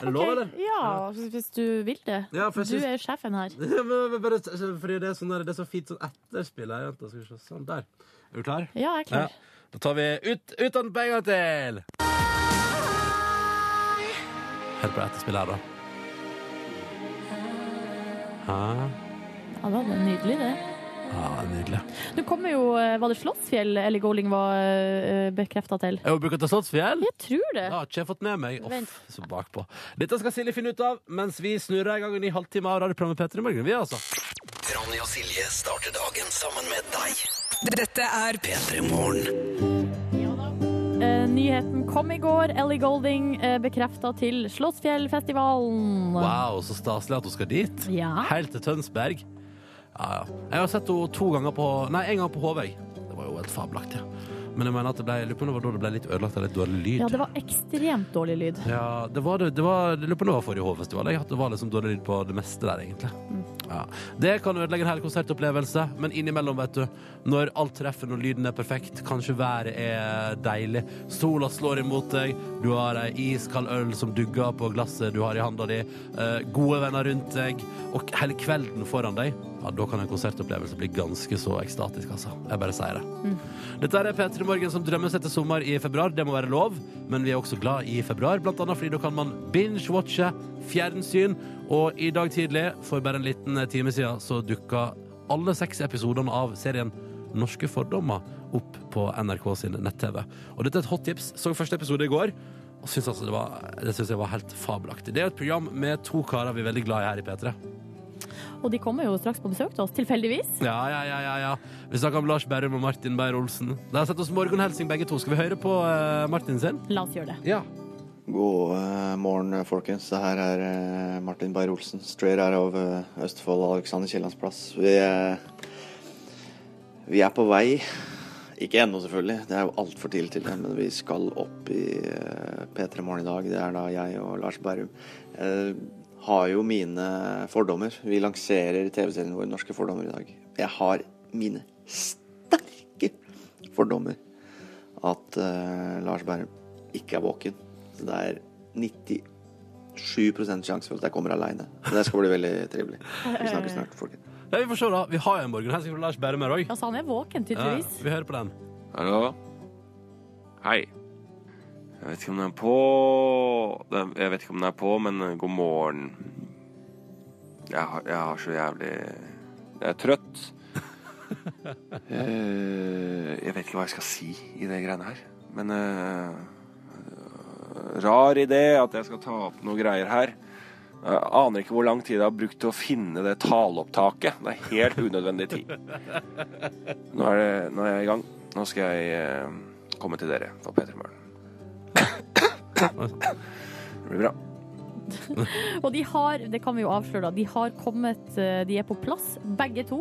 Er det lov, eller? Ok, Ja, altså, hvis du vil det. Ja, for jeg du syns- er sjefen her. Ja, men- men bare- Fordi det er, sånn der, det er så fint sånn etterspill her. Vent, da skal vi se. Sånn, der. Er du klar? Ja, jeg er klar. Da tar vi ut, ut den på en gang til! Hør på etterspillet her, da. Hæ? Ja, det var nydelig, det. Ja, Ah, nydelig. Nå kommer jo eh, Var det Slottsfjell Ellie Golding var bekrefta til? Er hun bruker til Slottsfjell? Jeg tror det. Det har ikke jeg fått med meg. Vent. Off, så bakpå. Dette skal Silje finne ut av mens vi snurrer i gang en ny halvtime av radioprogrammet Petter i morgen. Vi, altså. Ronny og Silje starter dagen sammen med deg. Dette er P3 Morgen. Eh, nyheten kom i går. Ellie Golding uh, bekrefta til Slottsfjellfestivalen. Wow, så staselig at hun skal dit. Ja. Helt til Tønsberg. Ja, ja. Jeg har sett henne to ganger på Nei, en gang på HV. Det var jo helt fabelaktig. Men jeg mener at det ble, jeg lurer på om det var da det ble litt ødelagt av litt dårlig lyd. ja, det var ekstremt dårlig lyd. Ja, det var det. det var, jeg lurer på om det var forrige Hovfestival. Jeg, at det var liksom dårlig lyd på det meste der, egentlig. Ja. Det kan ødelegge en hel konsertopplevelse, men innimellom, vet du, når alt treffer, når lyden er perfekt, kanskje været er deilig, sola slår imot deg, du har ei iskald øl som dugger på glasset du har i handa di, eh, gode venner rundt deg, og hele kvelden foran deg, ja, da kan en konsertopplevelse bli ganske så ekstatisk, altså. Jeg bare sier det. Dette er P3 Morgen som drømmer seg til sommer i februar. Det må være lov, men vi er også glad i februar, blant annet fordi da kan man binge-watche fjernsyn. Og i dag tidlig, for bare en liten time siden, så dukka alle seks episodene av serien Norske fordommer opp på NRK sin nett-TV. Og dette er et hot tips. Så første episode i går. Og synes altså det, var, det synes jeg var helt fabelaktig. Det er jo et program med to karer vi er veldig glad i her i P3. Og de kommer jo straks på besøk til oss, tilfeldigvis. Ja, ja, ja, ja, ja. Vi snakker om Lars Berrum og Martin Beyer-Olsen. De har sett oss Morgenhelsing begge to. Skal vi høre på eh, Martin sin? La oss gjøre det. Ja. God eh, morgen, folkens. Det her er eh, Martin Beyer-Olsen. Strayed her av eh, Østfold og Alexander Kiellands plass. Vi, eh, vi er på vei. Ikke ennå, selvfølgelig. Det er jo altfor tidlig til det. Men vi skal opp i eh, P3 Morgen i dag. Det er da jeg og Lars Berrum. Eh, har jo mine fordommer. Vi lanserer TV-serien vår Norske fordommer i dag. Jeg har mine sterke fordommer at eh, Lars Berrum ikke er våken. Så det er 97 sjanse for at jeg kommer aleine. Det skal bli veldig trivelig. Vi snakkes snart, folkens. ja, vi får se, da. Vi har jo en Morgenhelsing fra Lars Berrum her òg. Altså, han er våken, tydeligvis. vi hører på den. Hallo? Hei. Jeg vet ikke om den er på den- Jeg vet ikke om den er på, men eh, god morgen. Jeg har, jeg har så jævlig Jeg er trøtt. Eh, jeg vet ikke hva jeg skal si i det greiene her. Men eh, Rar idé at jeg skal ta opp noe greier her. Jeg aner ikke hvor lang tid jeg har brukt til å finne det taleopptaket. Det er helt unødvendig tid. Nå er, det, nå er jeg i gang. Nå skal jeg eh, komme til dere for P3 Morgen. Det blir bra. Og de har, det kan vi jo avsløre, da, de har kommet, eh, de er på plass, begge to.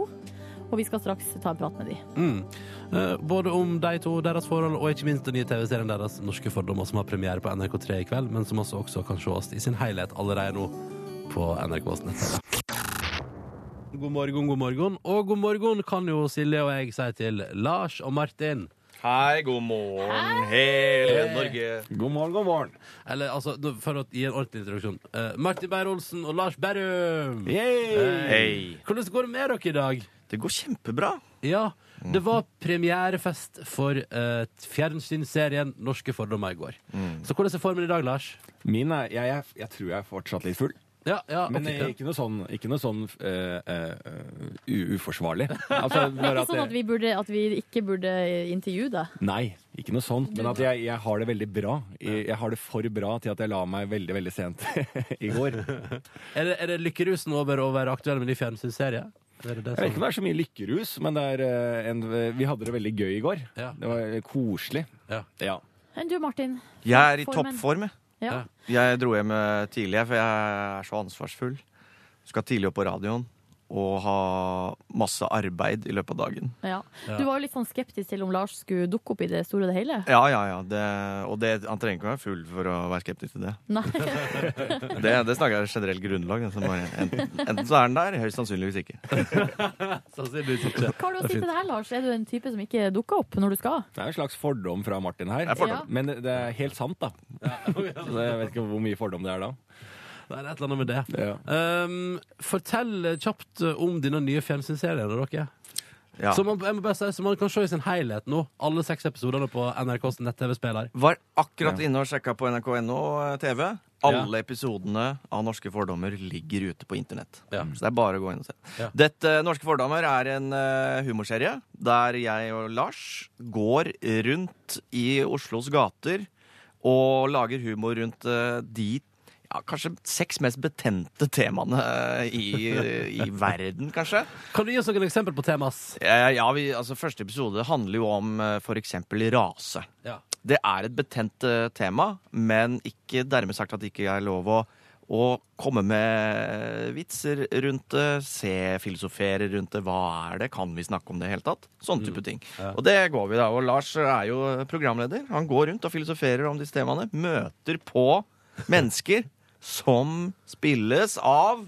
Og vi skal straks ta en prat med de. Mm. Eh, både om de to, deres forhold, og ikke minst den nye TV-serien deres, Norske fordommer, som har premiere på NRK3 i kveld, men som altså også kan ses i sin helhet allerede nå på NRKs nettside. God morgen, god morgen. Og god morgen kan jo Silje og jeg si til Lars og Martin. Hei, god morgen, hele Eh, Norge. God morgen, god morgen. Eller altså, nå- for å gi en ordentlig introduksjon. Eh, Martin Beyer-Olsen og Lars Berrum. Hei. Hei. Hvordan går det med dere i dag? Det går kjempebra. Ja, det var premierefest for eh, fjernsynsserien Norske fordommer i går. Så hvordan er formen i dag, Lars? Min er, jeg, jeg, jeg tror jeg er fortsatt litt full. Ja, ja, Men ok, eh, ikke noe sånn, ikke noe sånn eh, eh, u uforsvarlig. Altså, Det er bare ikke at sånn at jeg, vi, burde, at vi ikke burde intervjue deg. nei, ikke noe sånt. Men at jeg, jeg har det veldig bra. Jeg, jeg har det for bra til at jeg la meg veldig, veldig sent i går. Er det, er det lykkerusen over å være aktuell med ny fjernsynsserie? Er det det Jeg vet ikke om som... det er så mye lykkerus, men det er eh, en, vi hadde det veldig gøy i går. Ja. Det var koselig. Ja. Ja. Enn du, Martin? Jeg er i Formen. toppform. jeg. Ja. Jeg dro hjem eh, tidlig, jeg, for jeg er så ansvarsfull. Skal tidlig opp på radioen og ha masse arbeid i løpet av dagen. ja. Du var jo litt sånn skeptisk til om Lars skulle dukke opp i det store og det hele. Ja, ja, ja. Det, og det, han trenger ikke å være full for å være skeptisk til det. Nei. Det, det snakker jeg generelt grunnlag. altså bare Enten, enten så er han der, høyst sannsynligvis ikke. Sannsynligvis ikke. Hva har du å si til det her, Lars? Er du en type som ikke dukker opp når du skal? Det er en slags fordom fra Martin her. Det er fordom. Ja. Men det, det er helt sant, da. Så jeg vet ikke hvor mye fordom det er da. Det er et eller annet med det. Ehm, Ja. Um, fortell kjapt om denne nye fjernsynsserien, dere. Ja. Så man, jeg må bare si, så man kan se i sin helhet nå, alle seks episodene på NRKs nett-TV-spiller. Var akkurat inne og sjekka på nrk.no TV. eh, Alle episodene av Norske fordommer ligger ute på internett. Så det er bare å gå inn og se. Ja. Dette eh, Norske fordommer er en eh, humorserie der jeg og Lars går rundt i Oslos gater og lager humor rundt eh, de ja, kanskje seks mest betente temaene eh, i, i verden, kanskje. Kan du gi oss noen eksempel på temas? Eh, Ja, vi, altså Første episode handler jo om eh, for eksempel rase. Ja. Det er et betent eh, tema, men ikke dermed sagt at det ikke er lov å, å komme med vitser rundt det, se, filosofere rundt det. Hva er det? Kan vi snakke om det i det hele tatt? Sånne type ting. Og det går vi da. Og Lars er jo eh, programleder. Han går rundt og filosoferer om disse temaene. Møter på mennesker som spilles av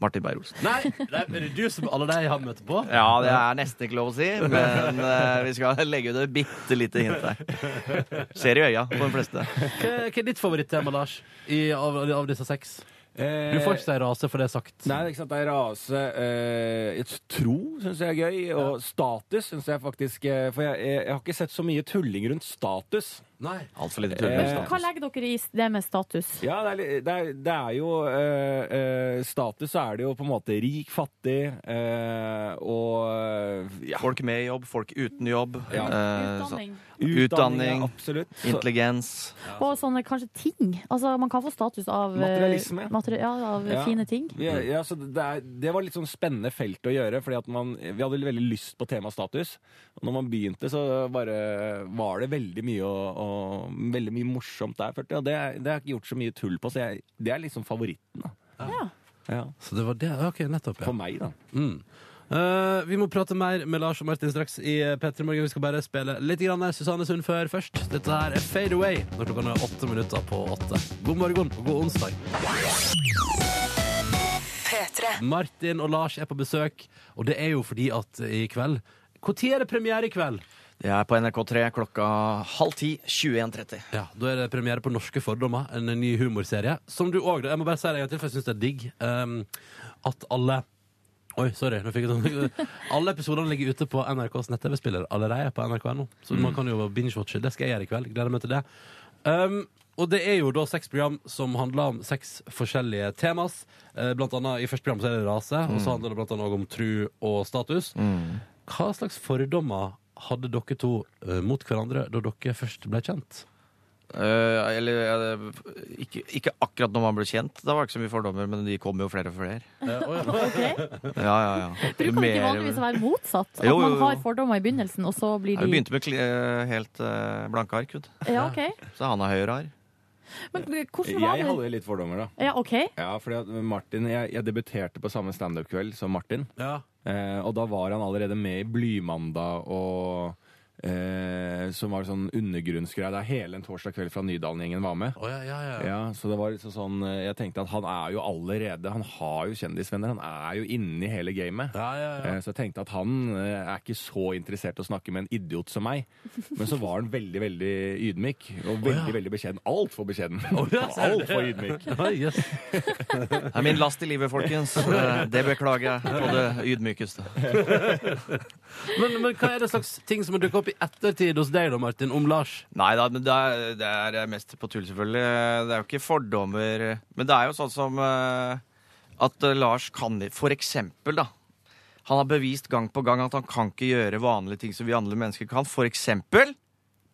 Martin Beyer-Olsen. Nei, det er det du som alle de har møtt på? Ja, det er nesten ikke lov å si, men eh, vi skal legge ut et bitte lite hint der. Ser i øya på de fleste. Hva, hva er ditt favorittema, Lars, i, av, av disse seks? Du får ikke si rase, for det er sagt. Eh, Nei, det er ikke sant. Det er rase. Eh, et tro syns jeg er gøy. Og status syns jeg faktisk eh, For jeg, jeg, jeg har ikke sett så mye tulling rundt status. Eh, Nei. Altfor lite Hva legger dere i det med status? Ja, det er, li- det er, det er jo eh, eh, Status så er det jo på en måte rik, fattig eh, og ja. Folk med jobb, folk uten jobb. eh, sånn. Utdanning, Utdanning. ja, absolutt. Så- Intelligens. Og sånne kanskje ting. Altså, man kan få status av eh, Materialisme. materi- ja, av Ja. fine ting. Ja, ja, så det, er, det var litt sånn spennende felt å gjøre, fordi at man, vi hadde veldig lyst på tema status. Og når man begynte, så bare var det veldig mye, å- å- veldig mye morsomt der. følte jeg. Og det, det har jeg ikke gjort så mye tull på, så jeg, det er liksom favoritten. da. Så det var det? Ja, Ok, nettopp. Ja. For meg, da. Mm. Eh, vi må prate mer med Lars og Martin straks i eh, P3 Morgen. Vi skal bare spille litt grann her. Susanne Sundfør først. Dette her er Fade Away når klokka er åtte minutter på åtte. God morgen og god onsdag. Martin og Lars er på besøk, og det er jo fordi at i kveld Når er det premiere i kveld? Det er på NRK3 klokka halv ti 21.30. Ja, Da er det premiere på Norske fordommer, en ny humorserie. Som du òg Jeg må bare si det en gang til, for jeg syns det er digg ehm, at alle Oi, sorry. Nå fikk jeg sånn Alle episodene ligger ute på NRKs nett-TV-spiller allerede på nrk.no. Så man kan jo binge-watche. Det skal jeg gjøre i kveld. Gleder meg til det. Ehm, og det er jo da seks program som handler om seks forskjellige temas. Eh, Blant annet, I første program så er det rase, og så handler det blant annet også om tru og status. Hva slags fordommer hadde dere to eh, mot hverandre da dere først ble kjent? Eh, eller eh, ikke, ikke akkurat når man ble kjent. Da var det ikke så mye fordommer, men de kom jo flere og flere. Eh, Ja, ja, ja. Bruker det ikke vanligvis å være motsatt? At Jo, jo, man jo. har fordommer i begynnelsen, og så blir Ja, Vi de begynte med kli- eh, helt eh, blanke ark. vet du. Ja, ok. Så han er høyere arr. Men eh, hvordan var Jeg det? hadde litt fordommer, da. Ja, OK. Ja, fordi at Martin, jeg, jeg debuterte på samme standup-kveld som Martin. Ja. Eh, og da var han allerede med i Blymandag og eh, Som var sånn undergrunnsgreie. Det er hele en torsdag kveld fra Nydalen-gjengen var med. ja, ja, ja. Så det var liksom sånn eh, Jeg tenkte at han er jo allerede Han har jo kjendisvenner. Han er jo inni hele gamet. Eh, så jeg tenkte at han eh, er ikke så interessert i å snakke med en idiot som meg. Men så var han veldig, veldig ydmyk. Og veldig, veldig beskjeden. Altfor beskjeden. Altfor ydmyk. Det er min last i livet, folkens. Eh, Det beklager jeg på det ydmykeste. Men, men hva er det slags ting som har dukket opp i ettertid hos deg da, Martin, om Lars? Nei da, men det er, det er mest på tull, selvfølgelig. Det er jo ikke fordommer. Men det er jo sånn som eh, at eh, Lars kan For eksempel, da. Han har bevist gang på gang at han kan ikke gjøre vanlige ting som vi andre mennesker kan. For eksempel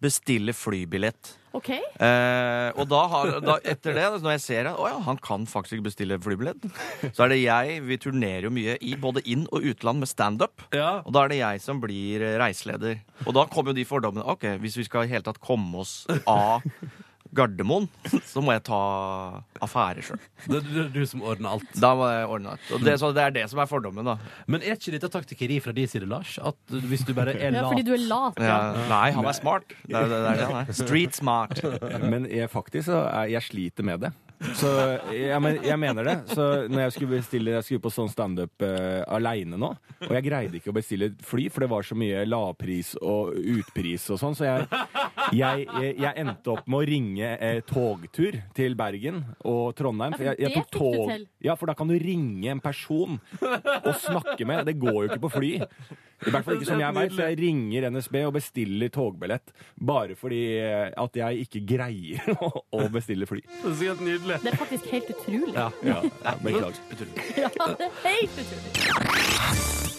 bestille flybillett. OK? Eh, og da har, da, etter det, når jeg ser at ja, han kan faktisk ikke bestille flybillett, så er det jeg Vi turnerer jo mye i både inn- og utland med standup. Og da er det jeg som blir eh, reiseleder. Og da kommer jo de fordommene. Ok, Hvis vi skal i hele tatt komme oss av Gardermoen, så må jeg ta affære sjøl. Det er du, du som ordner alt. Da må jeg ordne alt. Og det, så det er det som er fordommen, da. Men er ikke dette taktikkeri fra din side, Lars? At hvis du bare er Ja, lat fordi du er lat. Ja, nei, han er smart. Det er det, er det han er. Street smart. Men jeg faktisk så er, jeg sliter med det. Så jeg, men, jeg mener det. Så når jeg skulle bestille Jeg skulle på sånn standup uh, aleine nå, og jeg greide ikke å bestille et fly, for det var så mye lavpris og utpris og sånn, så jeg, jeg, jeg, jeg endte opp med å ringe eh, togtur til Bergen og Trondheim. For jeg, jeg Ja, for det tok fikk du tog til. Ja, for da kan du ringe en person og snakke med. Det går jo ikke på fly. I hvert fall ikke som jeg vet, så jeg ringer NSB og bestiller togbillett bare fordi eh, at jeg ikke greier å- å bestille fly. Det er helt nydelig. Det er faktisk helt utrolig. Ja, ja, ja beklager. Ja, det er helt utrolig.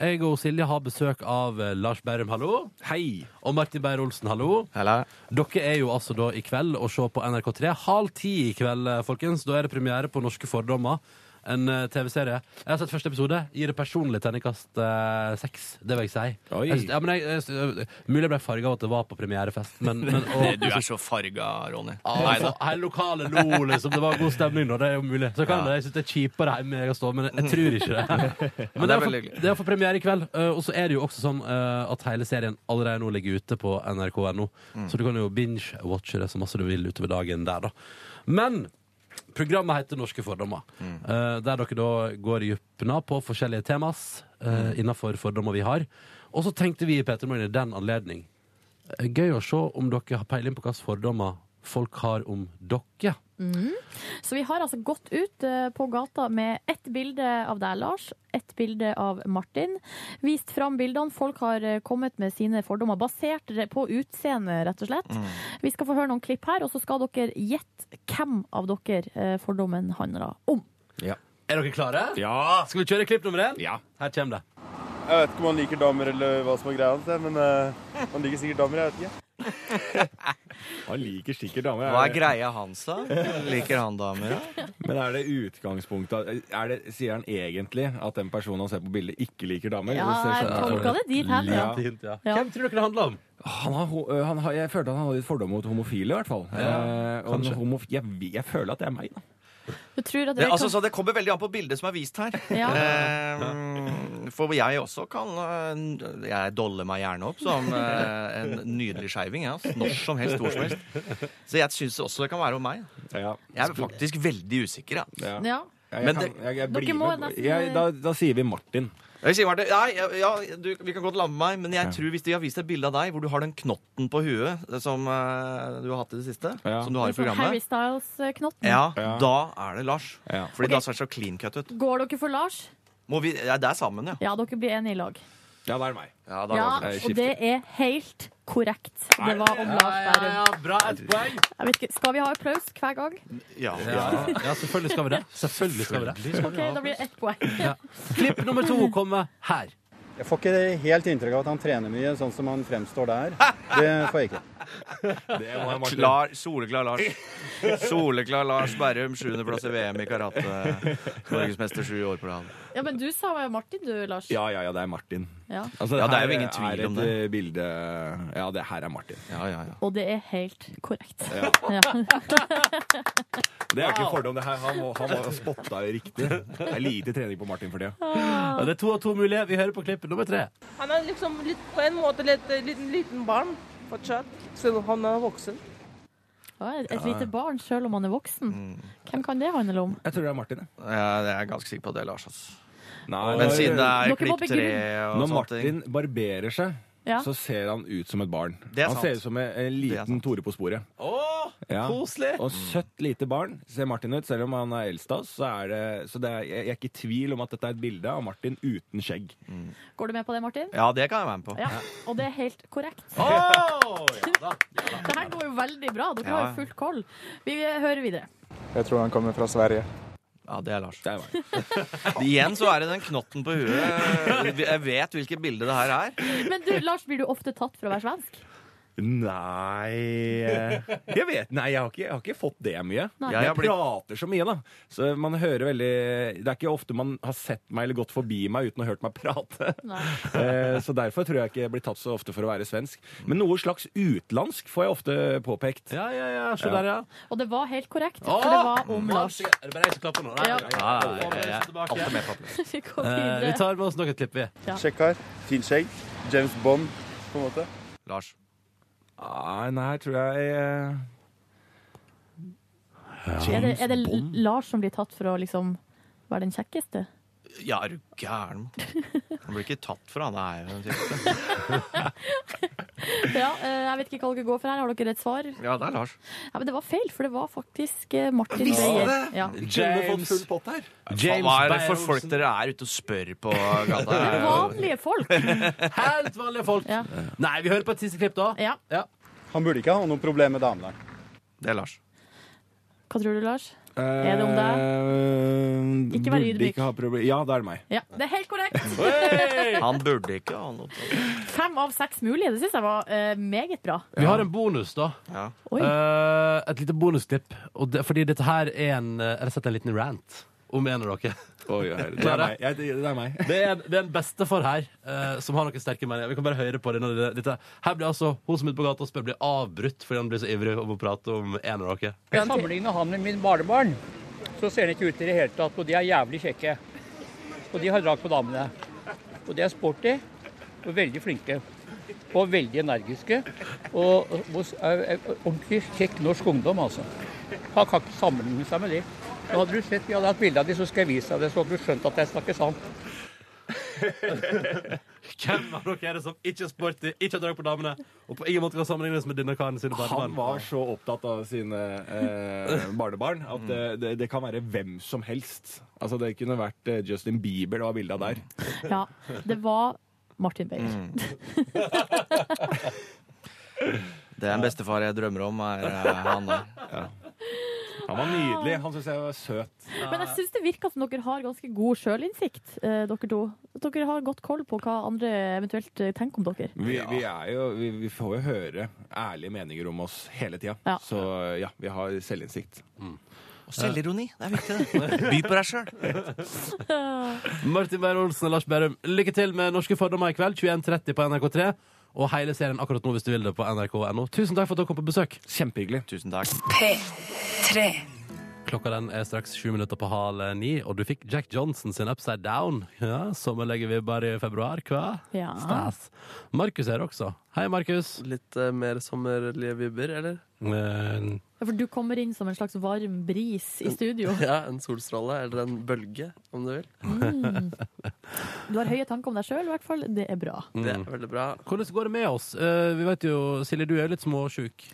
Jeg og Silje har besøk av eh, Lars Berrum, hallo. Hei. Og Martin Beyer-Olsen, hallo. Dere er jo altså da i kveld å se på NRK3. Halv ti i kveld, eh, folkens. Da er det premiere på Norske fordommer. En eh, TV-serie. Jeg har sett første episode. Gir det personlig terningkast eh, seks. Det vil jeg si. Oi. Jeg, syns- ja, men jeg, jeg, syns- mulig jeg ble farga av at det var på premierefest, men, men Du er så farga, Ronny. ja, altså, hele lokalet lo, liksom. Det var god stemning nå. Det er jo mulig. Så kan Ja. det. Jeg syns det er kjipere hjemme jeg kan stå, men jeg tror ikke det. Men Ja, det det er er for- veldig hyggelig. det er for premiere i kveld. eh, Og så er det jo også sånn eh, at hele serien allerede nå ligger ute på nrk.no. Mm. Så du kan jo binge-watche det så masse du vil utover dagen der, da. Men programmet heter Norske fordommer. Mm. eh, Der dere da går i dybden på forskjellige temas Mm. uh, innafor fordommer vi har. Og så tenkte vi i Peter Morgen i den anledning eh, Gøy å se om dere har peiling på hvilke fordommer folk har om dere. Mm. Så vi har altså gått ut eh, på gata med ett bilde av deg, Lars, ett bilde av Martin. Vist fram bildene. Folk har eh, kommet med sine fordommer, basert re- på utseende, rett og Mm. slett. Vi skal få høre noen klipp her, og så skal dere gjette hvem av dere eh, fordommen handler om. Er dere klare? Ja! Skal vi kjøre klipp nummer én? Ja. Her kommer det. Jeg vet ikke om han liker damer eller hva som er greia hans, jeg, men eh, han liker sikkert damer. jeg vet ikke. Han liker sikkert damer. Hva er greia hans, da? Liker han damer, da? Men er det utgangspunktet er det, Sier han egentlig at den personen han ser på bildet, ikke liker damer? Ja, Det ser jeg sånn ut. tolka det dit hen, ja. Lite hint, ja. Ja. Hvem tror dere det handler om? Han har, ho- øh, han har, jeg følte han hadde litt fordom mot homofile, i hvert fall. Ja, eh, og kanskje. homof jeg, jeg føler at det er meg, da. Du tror at Det, dere altså, kan- så det kommer veldig an på bildet som er vist her. Ja. Eh, for jeg også kan eh, Jeg doller meg gjerne opp som eh, en nydelig skeiving. Ja. altså. Når som helst, hvor som helst. Så jeg syns også det kan være om meg. Jeg er faktisk veldig usikker. Ja. Ja. Jeg, Men kan, det- jeg, jeg Dere blir må med. nesten- Jeg, da, da sier vi Martin. Jeg sier, Marte, nei, ja, ja, du, Vi kan godt lamme meg, men jeg tror hvis de har vist et bilde av deg hvor du har den knotten på huet som eh, du har hatt i det siste, som du har i Sånn Harry programmet, Styles-knotten. ja, da er det Lars. Ok. Fordi det har sett så clean cut ut. Går dere for Lars? Må vi, ja, det er sammen, ja. Ja, dere blir enige i lag. Ja, det er meg. Ja, Ja, og det er helt korrekt. Det var om Lars Bærum. Ja, bra, et poeng. Jeg vet ikke, skal vi ha applaus hver gang? Ja, ja. selvfølgelig skal vi det. Selvfølgelig skal vi det. OK, da blir det ett poeng. Klipp nummer to kommer her. Jeg får ikke helt inntrykk av at han trener mye, sånn som han fremstår der. Det får jeg ikke. Klar, soleklar Lars. Soleklar Lars Berrum, sjuendeplass i VM i karate. Norgesmester sju år på rad. Ja, men du sa jo Martin, du, Lars. Ja, ja, ja, det er Martin. Altså, Ja. Ja, det er her jo ingen tvil er om et, det. eh, Bilde, ja, det her er Martin. Og det er helt korrekt. Ja. Ja. Det er jo ikke Wow. fordom, det her. Han, må- han har spotta det riktig. Det er lite trening på Martin for det. Ja, det er to av to mulige. Vi hører på klipp nummer tre. Han er liksom litt, på en måte litt liten, liten barn fortsatt, siden han er voksen. Ja, Et et lite barn, sjøl om han er voksen. Hvem kan det handle om? Jeg tror det er Martin. Ja, det er jeg ganske sikker på det, Lars. Altså. Nei, Men siden det er Dere må klipp tre begrunne. og Når sånne ting Martin barberer seg, Ja. så ser han ut som et barn. Det er han sant. ser ut som en, en liten Tore på sporet. Ja. koselig. Og søtt lite barn ser Martin ut, selv om han er eldst av oss. Så, er det, så det er, jeg, jeg er ikke i tvil om at dette er et bilde av Martin uten skjegg. Går du med på det, Martin? Ja, det kan jeg være med Ja, og det er helt korrekt. Det her går jo veldig bra. Dere har jo Ja. fullt koll. Vi hører videre. Jeg tror han kommer fra Sverige. Ja, det er Lars. Igjen så er det den knotten på huet. Jeg vet hvilket bilde det her er. Men du, Lars, blir du ofte tatt for å være svensk? Nei Jeg vet, nei, jeg har ikke, jeg har ikke fått det mye. Nei. Jeg, Jeg har blitt- prater så mye, da. Så man hører veldig Det er ikke ofte man har sett meg eller gått forbi meg uten å ha hørt meg prate. Eh, så derfor tror jeg ikke jeg blir tatt så ofte for å være svensk. Men noe slags utlandsk får jeg ofte påpekt. Ja, ja, ja, se der, ja. Og det var helt korrekt, Åh! for det var om Ja, Lars. Er det bare jeg som klapper nå? Nei, Ja. nei, nei. Ja, ja, Alle ja, ja. står tilbake. Alltid med Vi går Eh, vi videre. tar med oss noen klipp, vi. Ja. Sjekk her. Fint skjegg. James Bond, på en måte. Lars. Nei, nei, tror jeg eh, Er det, er det Lars som blir tatt for å liksom være den kjekkeste? Ja, er du gæren? Han blir ikke tatt for, han er jo en type. Ja, eh, jeg vet ikke hva dere går for her. Har dere et svar? Ja, det er Lars. Ja, men det var feil, for det var faktisk eh, Martin Visste Beyer. det! Ja. Vi kunne fått full pott her. James Hva er det for Beyer folk dere er ute og spør på gata? Vanlige folk. Helt vanlige folk. Nei, vi hører på et siste klipp, da. Ja. Han burde ikke ha noe problem med damene. Det er Lars. Hva tror du, Lars? Er det om deg? deg? Ikke vær ydmyk. Eh, Ikke ha problem. Ja, det er meg. Ja, det er helt Hey! korrekt. Han burde ikke ha noe Fem av seks mulige. Det syns jeg var eh, meget bra. Vi har en bonus, da. Oi. Eh, et lite bonusklipp. Og det, fordi dette her er en eh, Rett og slett en liten rant om en av dere. det er meg. Jeg- det er meg. Det er, det er en bestefar her eh, som har noen sterke meninger. Vi kan bare høre på det. Når det dette. Her blir altså hun som er ute på gata og spør, blir avbrutt fordi han blir så ivrig om å prate om en av dere. Jeg sammenligner han med min barnebarn, så ser han ikke ut i det hele tatt. Og de er jævlig kjekke. Og de har drag på damene. Og de er sporty og veldig flinke. Og veldig energiske. Og, og er, er ordentlig kjekk norsk ungdom, altså. Han kan ikke sammenligne seg med de. Nå hadde du sett, Vi hadde hatt bilde av de, så skal jeg vise deg det, så hadde du skjønt at jeg snakker sant. Hvem av dere er det som ikke er sporty, ikke har drag på damene, og på ingen måte kan sammenlignes med denne karen sine Han barnebarn? var så opptatt av sine eh, barnebarn at det, det, det kan være hvem som helst. Altså Det kunne vært eh, Justin Bieber det var bilde av der. Ja, det var Martin Beyer. Det er en bestefar jeg drømmer om, er eh, han der. Han var nydelig. Han syns jeg var søt. Men jeg syns det virker som dere har ganske god sjølinnsikt, eh, dere to. At Dere har godt koll på hva andre eventuelt eh, tenker om dere. Vi, vi, er jo, vi, vi får jo høre ærlige meninger om oss hele tida. Ja. Så ja, vi har selvinnsikt. Og selvironi. Det er viktig, det. By på deg sjøl. Martin Beyer-Olsen og Lars Berrum, lykke til med norske fordommer i kveld. 21.30 på NRK3. Og hele serien akkurat nå hvis du vil det på nrk.no. Tusen takk for at dere kom på besøk. Kjempehyggelig. Tusen takk. P3. Klokka den er straks sju minutter på halv eh, ni, og du fikk Jack Johnson sin Upside Down. Ja, Sommerlegevibber i februar, hva? Ja. Stas. Markus er her også. Hei, Markus. Litt eh, mer sommerlige vibber, eller? Ja, For du kommer inn som en slags varm bris i studio. Ja, en solstråle, eller en bølge, om du vil. Mm. Du har høye tanker om deg sjøl, i hvert fall. Det er bra. Det er veldig bra. Hvordan går det med oss? Eh, vi vet jo, Silje, du er jo litt småsjuk.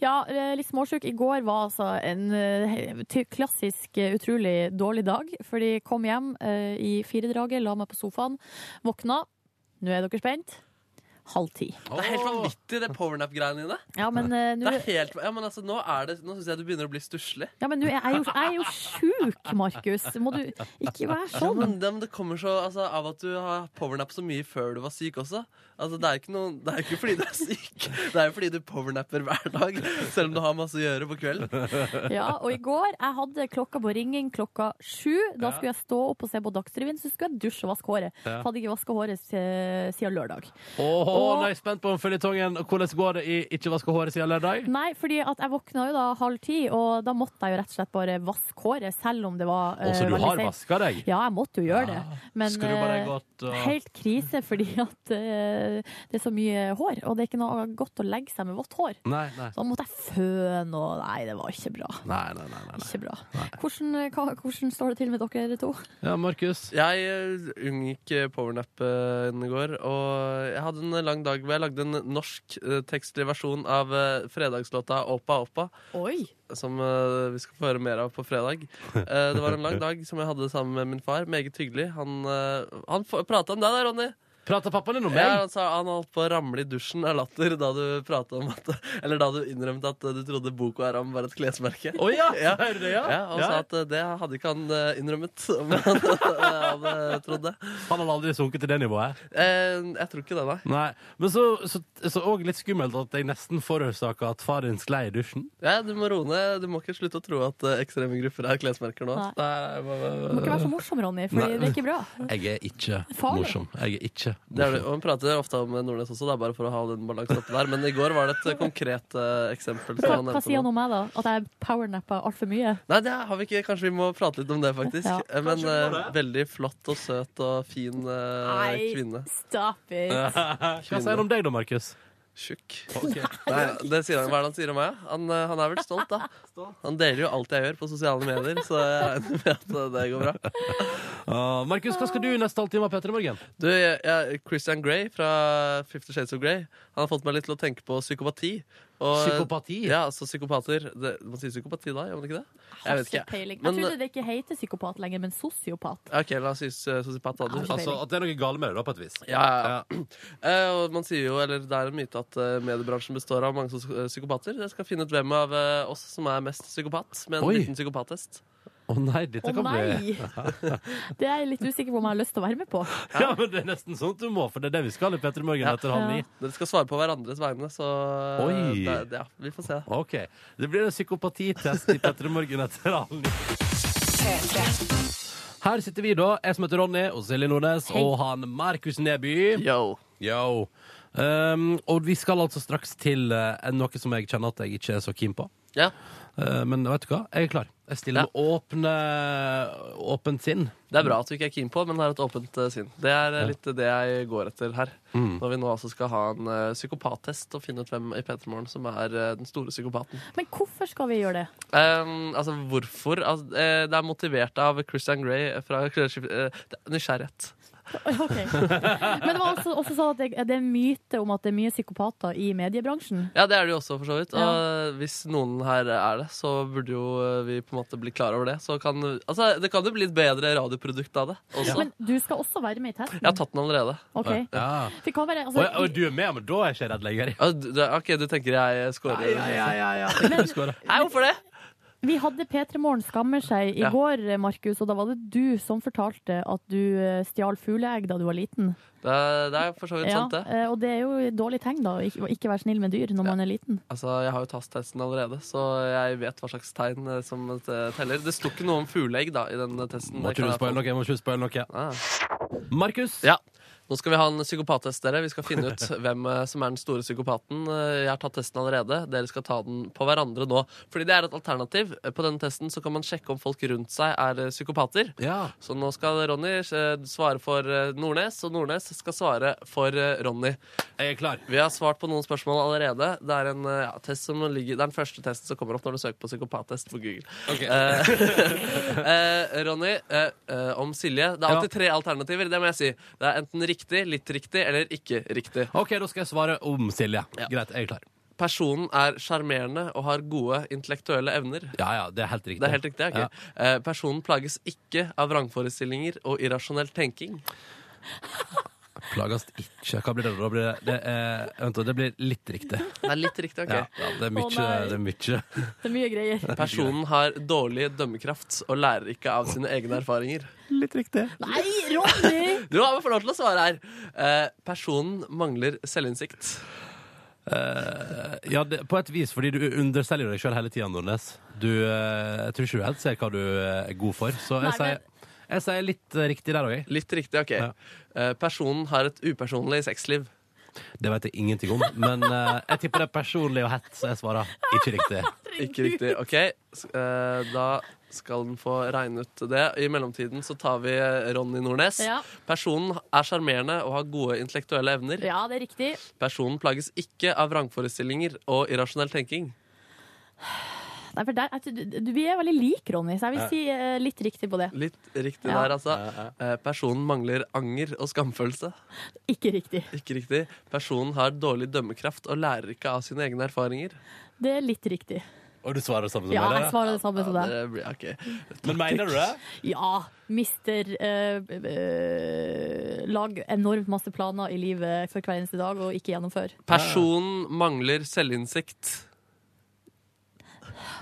Ja, eh, litt småsjuk. I går var altså en eh, ty- klassisk eh, utrolig dårlig dag. Fordi jeg kom hjem eh, i firedraget, la meg på sofaen, våkna. Nå er dere spent. Halv ti. Det er helt vanvittig, det powernap-greiene dine. Ja, men, eh, det er nå- helt, ja, men altså, nå, er det- nå syns jeg du begynner å bli stusslig. Ja, men nå er jeg, jo, jeg er jo sjuk, Markus. Må du ikke være Ja, men, sånn? det, men det kommer så altså, av at du har powernap så mye før du var syk også. Altså, det, er ikke noe, det er ikke fordi du er syk, det er jo fordi du powernapper hver dag. Selv om du har masse å gjøre på kvelden. Ja, og i går jeg hadde klokka på ringing klokka sju. Da skulle jeg stå opp og se på Dagsrevyen, så skulle jeg dusje og vaske håret. Ja. Hadde ikke vaska håret eh, siden lørdag. Åh, Og- nå er jeg spent på om føljetongen og hvordan går det i Ikke vaske håret siden lørdag. Nei, fordi at jeg våkna jo da halv ti, og da måtte jeg jo rett og slett bare vaske håret, selv om det var Å, så eh, du veldig har sent. vasket deg? Ja, jeg måtte jo gjøre det. Men skrubba deg eh, godt, og- helt krise, fordi at eh, det er så mye hår, og det er ikke noe godt å legge seg med vått hår. Nei, nei. Så da måtte jeg føne, og nei, det var ikke bra. Nei, nei, nei, nei. Ikke bra. Hvordan, eh, hva, hvordan står det til med dere to? Ja, Markus? Jeg eh, unngikk eh, powernap eh, i går, og jeg hadde en lang dag hvor jeg lagde en norsk eh, tekstlig versjon av eh, fredagslåta Oppa Oppa. Oi. Som eh, vi skal få høre mer av på fredag. Eh, det var en lang dag som jeg hadde sammen med min far. Meget hyggelig. Han, eh, han f- prata om deg da, Ronny. Prata pappaen din om meg? ja, han, sa han holdt på å ramle i dusjen av latter da du pratet om at, Eller da du innrømte at du trodde Boko Haram var et klesmerke. Å ja, er det det, ja? og Ja. sa at eh, det hadde ikke han eh, innrømmet, om han hadde trodd det. Han hadde aldri sunket til det nivået? Eh, jeg tror ikke det, nei. Nei. Men så, så, så også litt skummelt at jeg nesten forårsaka at far din sklei i dusjen. Ja, du må roe ned. Du må ikke slutte å tro at eh, ekstreme grupper er klesmerker nå. Nei. Det er, Du må ikke være så morsom, Ronny, for Nei. det er ikke bra. Jeg er ikke Farlig. morsom. Jeg er ikke Det er det, og Hun prater ofte om Nordnes også, det er bare for å ha den balansen oppe der. Men i går var det et eh, konkret eh, eksempel. som Hva, han hva nevnte sier han nå. om meg, da? At jeg powernappa altfor mye? Nei, det har vi ikke. Kanskje vi må prate litt om det, faktisk. Ja. Eh, Men Kanskje vi må eh, veldig flott og søt og fin eh, Nei, kvinne. Stop it! Hva sier han om deg da, Markus? Tjukk. Ok. Nei, det sier han, hva er det han sier om meg? Han, eh, han er vel stolt, da. Han deler jo alt jeg gjør på sosiale medier, så jeg regner med at eh, det går bra. Markus, hva skal du neste halvtime av Petter i morgen? Du, jeg, jeg, Christian Grey fra Fifty Shades of Grey Han har fått meg litt til å tenke på psykopati. Og- Psykopati? Ja, altså psykopater det, Man sier psykopati da, gjør man ikke det? Jeg vet ikke. Peiling. Men- eh, jeg trodde det ikke heter psykopat lenger, men sosiopat. Ok, la oss si eh, sosiopat. da, du. Jeg har ikke peiling. Altså, at det er noe galt med det, da, på et vis. Ja, ja, ja. Eh, og man sier jo, eller Det er en myte at eh, mediebransjen består av mange sos- eh, psykopater. Jeg skal finne ut hvem av eh, oss som er mest psykopat med en Oi. liten psykopattest. Å nei, dette Å kan bli nei! Det er jeg litt usikker på om jeg har lyst til å være med på. Ja, men det er nesten sånn at du må, for det er det vi skal i Petter i morgen etter halv ni. Dere skal svare på hverandres vegne, så eh, Oi. Det, det- ja, vi får se. Ok, Det blir en psykopatitest i Petter i morgen etter halv ni. Her sitter vi, da. Jeg som heter Ronny, og Silje Nordnes, og han Markus Neby. Yo. Um, og vi skal altså straks til eh, noe som jeg kjenner at jeg ikke er så keen på. Ja. Eh, men vet du hva? Jeg er klar. Jeg stiller med åpne, åpent sinn. Det er bra at du ikke er keen på, men har et åpent eh, sinn. Det er eh, Ja. litt det jeg går etter her. Mm. Når vi nå altså skal ha en eh, psykopattest og finne ut hvem i P3 Morgen som er eh, den store psykopaten. Men hvorfor skal vi gjøre det? Ehm, altså hvorfor? Altså, eh, det er motivert av Christian Grey fra eh, det er Nysgjerrighet. Ok. Men det var også, også sånn at det, det er en myte om at det er mye psykopater i mediebransjen. Ja, det er det jo også, for så vidt. Og eh, hvis noen her er det, så burde jo eh, vi på en måte bli klar over det. Så kan, altså, det kan jo bli et bedre radioprodukt av det også. Men du skal også være med i testen. Jeg har tatt den allerede. Ok. Ja. Vi kan være, altså, du er med, men da er jeg ikke redd lenger. ok, du tenker jeg scorer? Ja, ja, ja, ja. Nei, hvorfor det? Vi hadde P3 Morgen skammer seg i Ja. går, Markus, og da var det du som fortalte at du eh, stjal fugleegg da du var liten. Det er, det er for så vidt sant, det. eh, Og det er jo et dårlig tegn, da, å ikke, å ikke være snill med dyr når man er liten. Altså, Jeg har jo tasstesten allerede, så jeg vet hva slags tegn eh, som eh, teller. Det sto ikke noe om fugleegg da, i den eh, testen. Må Det kan ikke du jeg spoile få- noe? Jeg må ikke spoile noe. Markus? Ja. Nå skal vi ha en psykopattest, dere. Vi skal finne ut hvem eh, som er den store psykopaten. Eh, Jeg har tatt testen allerede. Dere skal ta den på hverandre nå. Fordi det er et alternativ. Eh, På denne testen så kan man sjekke om folk rundt seg er eh, psykopater. Ja. Så nå skal Ronny eh, svare for eh, Nordnes, og Nordnes skal svare for eh, Ronny. Jeg er klar. Vi har svart på noen spørsmål allerede. Det er, en, eh, ja, test som ligger, det er den første testen som kommer opp når du søker på psykopattest på Google. Eh, eh, Ronny, eh, eh, om Silje Det er alltid tre alternativer, det må jeg si. Det er enten riktig, litt riktig eller ikke riktig. Ok, da skal jeg svare om Silje. Greit, jeg er klar. Personen er sjarmerende og har gode intellektuelle evner. Ja, ja, det er helt riktig. Det er helt riktig, ok. Ja. Eh, Personen plages ikke av vrangforestillinger og irrasjonell tenking. Plages ikke. Hva blir det? Da blir det, det, er, vent, da, det blir litt riktig. Det er litt riktig, ok. Ja, ja, det er mye. Å, nei. det er mye. Det er mye greier. Personen har dårlig dømmekraft og lærer ikke av sine egne erfaringer. Litt riktig. Nei, Ronny! Du har fått lov til å svare her. Eh, personen mangler selvinnsikt. Eh, ja, det, på et vis, fordi du underselger deg sjøl hele tida, Nordnes. Du, eh, jeg tror ikke du helt ser hva du eh, er god for, så jeg Nei, men- sier jeg sier litt eh, riktig der òg. Litt riktig, ok. Eh, personen har et upersonlig sexliv. Det vet jeg ingenting om, men eh, jeg tipper det er personlig og hett, så jeg svarer ikke riktig. Ikke riktig, ok. S- eh, da skal den få regne ut det. I mellomtiden så tar vi eh, Ronny Nordnes. Ja. Personen er sjarmerende og har gode intellektuelle evner. Ja, det er riktig. Personen plages ikke av vrangforestillinger og irrasjonell tenking. Nei, for der, jeg- du, du, vi er veldig like, Ronny, så jeg vil Ja. si eh, litt riktig på det. Litt riktig Ja. der, altså. Eh, personen mangler anger og skamfølelse. Ikke riktig. Ikke riktig. Personen har dårlig dømmekraft og lærer ikke av sine egne erfaringer. Det er litt riktig. Og du svarer det Sånn samme som Ja, meg? jeg svarer det samme som deg. Det blir, ok. Men mener du det? Ja, mister eh, eh, Lag enormt masse planer i livet for hver eneste dag og ikke gjennomfør. Personen mangler selvinnsikt.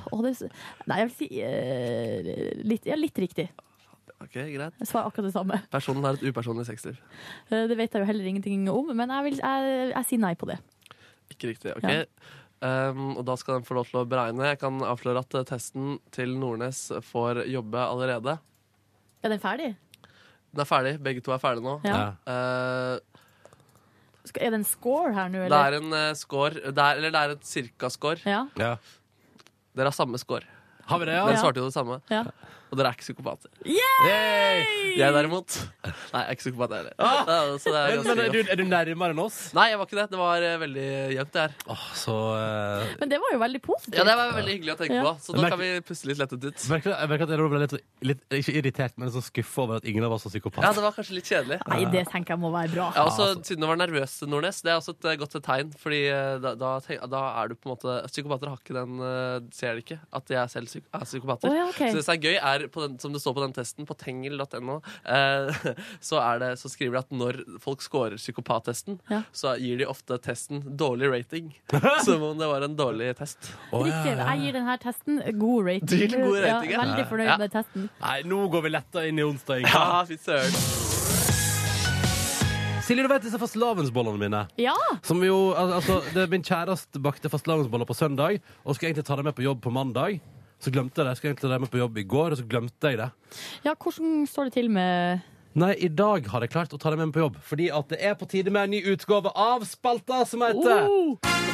Å, det, er så- nei, jeg vil si eh, litt, ja, litt riktig. Ok, greit. Jeg svarer akkurat det samme. Personen har et upersonlig sexliv. Eh, det vet jeg jo heller ingenting om, men jeg, vil, jeg, jeg sier nei på det. Ikke riktig. ok. Ja. Um, og da skal den få lov til å beregne. Jeg kan avsløre at eh, testen til Nordnes får jobbe allerede. Er den ferdig? Den er ferdig. Begge to er ferdige nå. Ja. Eh, Skal- Er det en score her nå, det er eller? en eh, score det er, Eller det er et cirka-score. Ja. Ja. Dere har samme score. Har vi det, ja? Dere Ja. svarte jo det samme. Ja. Og dere er ikke psykopater. Yay! Jeg derimot Nei, jeg er ikke psykopat, jeg heller. Ah! Ja, så det er Men- men ganske- er du- er du nærmere enn oss? Nei, jeg var ikke det. Det var eh, veldig jevnt, det her. Så eh, Men det var jo veldig positivt. Ja, det var veldig hyggelig å tenke Ja. på. Så da Merk- kan vi puste litt lettet ut. jeg merker, jeg merker at jeg ble litt, litt Ikke irritert, men litt sånn skuffa over at ingen av oss var psykopat. Ja, Ah, altså. det var kanskje litt kjedelig. Nei, det tenker jeg må være bra. Ja, også, Siden du var nervøs, Nordnes, det er også et eh, godt tegn. Fordi eh, da, da, tenk- da er du på en måte Psykopater har ikke den eh, Ser det ikke at de er selv psyk er psykopater. Å ja, ok. Så det som er gøy, er på den, som det står på den testen, på tengel.no, eh, så, er det- så skriver de at når folk scorer psykopattesten, Ja. så gir de ofte testen dårlig rating. Som om det var en dårlig test. Riktig. Jeg gir denne testen god rating. Du gir den god rating, ja. ja. Veldig fornøyd Ja. med testen. Nei, nå går vi letta inn i onsdag. Inga. Ja, Ah, fy søren. Silje, du vet disse fastelavnsbollene mine? Ja! Som jo, al- altså, det, Min kjæreste bakte fastelavnsboller på søndag, og skulle egentlig ta dem med på jobb på mandag. Så glemte jeg det. Jeg Skulle egentlig ta dem med på jobb i går, og så glemte jeg det. ja, hvordan står det til med Nei, i dag har jeg klart å ta dem med på jobb, fordi at det er på tide med en ny utgave av spalta som heter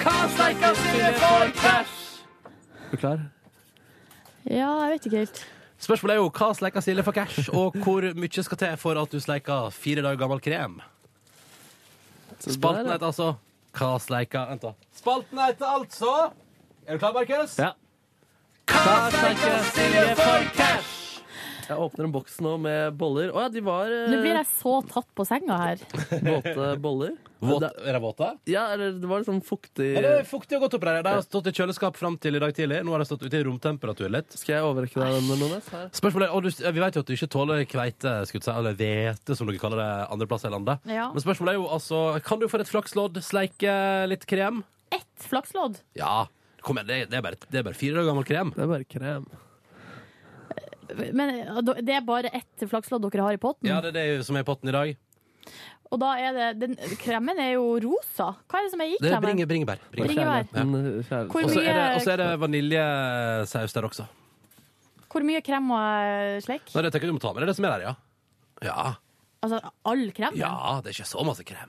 Hva steika Silje for cash? Er du klar? Ja, jeg vet ikke helt. Spørsmålet er jo hva sleiker Silje for cash, og hvor mye skal til for at du sleiker fire dager gammel krem? Spalten heter altså Hva sleiker Vent, da. Spalten heter altså Er du klar, Markus? Ja. Hva sleiker Silje for cash? Jeg åpner en boks nå med boller. Å ja, de var eh, Nå blir jeg så tatt på senga her. våte boller. er de våte? Ja, eller det var litt sånn fuktig Ja, det er fuktig og godt oppreist. Det har stått i kjøleskap fram til i dag tidlig. Nå har det stått ute i romtemperatur litt. Skal jeg overrekke deg den, Nordnes? Her. Spørsmålet er, og du, Vi vet jo at du ikke tåler kveite, skulle jeg si, eller hvete, som dere kaller det andre plasser i landet. Ja. Men spørsmålet er jo altså Kan du for et flakslodd sleike litt krem? Ett flakslodd. Ja. Kom igjen, det, det, er bare, det er bare fire dager gammel krem. Det er bare krem. Men eh, det er bare ett flakslodd dere har i potten? Ja, det er det som er i potten i dag. Og da er det den, Kremmen er jo rosa. Hva er det som er i Det er kremmen? bringe, bringebær. Bringebær. eh, Ja. Hvor Og Altså, så er det, mye- og så er det vaniljesaus der også. Hvor mye krem må jeg slekke? Nei, det tenker jeg du må ta med. Det er det som er der, ja. Ja, Altså all krem? ja det er ikke så masse krem.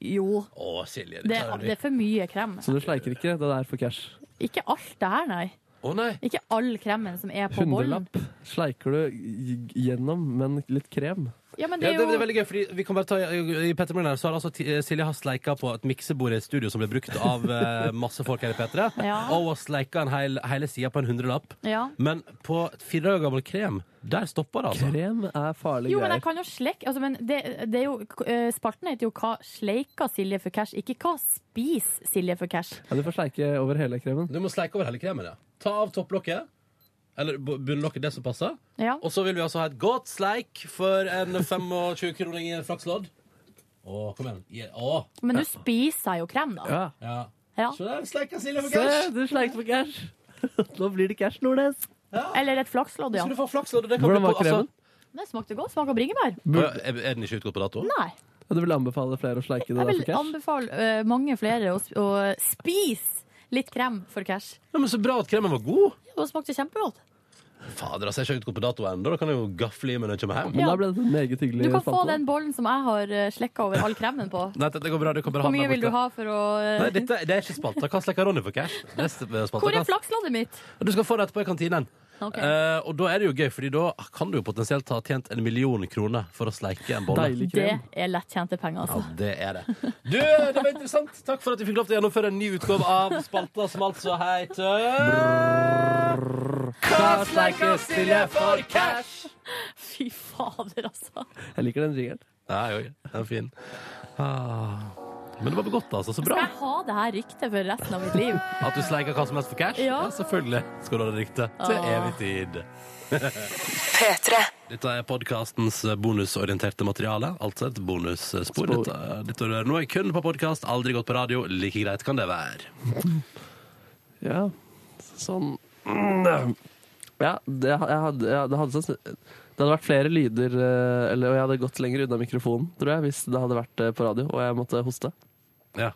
Jo. Å, Silje. Det, er- det er for mye krem. Så du sleiker ikke det der for cash? Ikke alt det her, nei. Å nei. Ikke all kremen som er på bollen. Hundrelapp sleiker du g- gjennom, men litt krem. Ja, men Ja, det er jo veldig gøy, fordi vi kan bare ta I Petter Møller så har altså Ti- Silje har sleika på et miksebord i et studio som ble brukt av eh, masse folk her i P3. Ja. Og hun har sleika en hel, hele sida på en hundrelapp. ja. Men på et fire dager gammel krem, der stopper det, altså. Krem er farlige Jo, men jeg kan jo slekke altså, men det, det er jo, eh, Spalten heter jo 'Hva sleika Silje for cash', ikke 'Hva spis Silje for cash'. Ja, du får sleike over hele kremen. Du må sleike over hele kremen, ja. Ta av topplokket. Eller bu- bunnlokket, det som passer. Ja. Og så vil vi altså ha et godt sleik for en 25-kroning i en flakslodd. Å, kom igjen. Gi- Å. Men nå spiser jeg jo krem, da. Ja. ja. Ja. Så der sleika Silje for Se, cash. du sleikte for cash. Nå blir det cash, Nordnes. Eller et flakslodd, ja. Skal du få flakslodd? Det kan Hvordan bli var på- altså- kremen? Det smakte godt. Smaker bringebær. Burde- Er er den ikke utgått på dato? Nei. Ja, Du vil anbefale flere å sleike Jeg det der vil for cash? anbefale eh, mange flere å, sp- å spise litt krem for cash. Ja, men Så bra at kremen var god. Ja, Det smakte kjempegodt. Fader, altså, jeg har ikke utgått på dato ennå. Da kan jeg jo gafle i meg når jeg kommer hjem. Men Ja. da ble det meget hyggelig. Du kan sånn få den bollen som jeg har slekka over all kremen på. Nei, det, det går bra. Du kan bare Hvor ha den mye der vil du borte. ha for å eh, Nei, dette, det er altså ikke spalta. Hva slekker Ronny for cash? Det er spalta. Hvor Hva- er flaksloddet mitt? Du skal få det etterpå i kantinen. Ok. Eh, og da er det jo gøy, Fordi da kan du jo potensielt ha tjent en million kroner for å sleike en bolle. Det er lettjente penger, altså. Det er det. Du, det var interessant. Takk for at vi fikk lov til å gjennomføre en ny utgave av spalta som altså heter Hva sleiker Silje for cash? Fy fader, altså. Jeg liker den jingeren. Ja, jo, den er fin. Ah. Men det var godt, altså. Så Skal bra. jeg ha det her ryktet for resten av mitt liv? At du sleiker hva som helst for cash? Ja. selvfølgelig skal du ha det riktig. Til Ah. evig tid. Dette er podkastens bonusorienterte materiale, altså et bonusspor. Dette, dette du hører nå er kun på podkast, aldri gått på radio. Like greit kan det være. Ja, sånn Mm. Ja, det, jeg hadde, jeg, det, hadde sånn, det hadde vært flere lyder, eh, eller, og jeg hadde gått lenger unna mikrofonen, tror jeg, hvis det hadde vært eh, på radio, og jeg måtte hoste. Ja.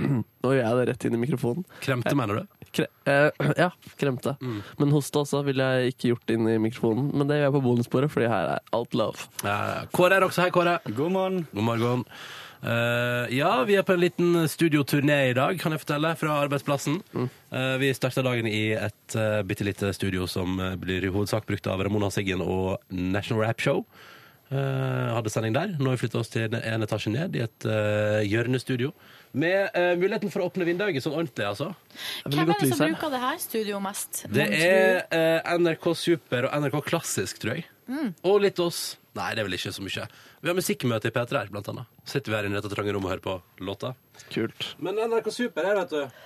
Nå gjør jeg det rett inn i mikrofonen. Kremte, mener du? Kre eh, ja, kremte. Men hoste også ville jeg ikke gjort inn i mikrofonen. Men det gjør jeg på bonussporet, fordi her er alt lov. Eh, Kåre er også her, Kåre. God morgen. God morgen. Eh, ja, vi er på en liten studioturné i dag, kan jeg fortelle, fra arbeidsplassen. Eh, vi starter dagen i et uh, bitte lite studio som eh, blir i hovedsak brukt av Ramona Siggen og National Rap Show. Eh, hadde sending der. Nå har vi flytta oss til den ene etasjen ned, i et eh, hjørnestudio. Med eh, muligheten for å åpne vinduet sånn ordentlig, altså. Det er veldig Hvem godt er det lys som her. bruker det her studioet mest? Det Mon tro? er eh, NRK Super og NRK Klassisk, tror jeg. Og litt oss. Nei, det er vel ikke så mye. Vi har musikkmøte i P3 her, blant annet. Sitter vi her inne i dette trange rommet og hører på låta. Kult. Men NRK Super her, vet du.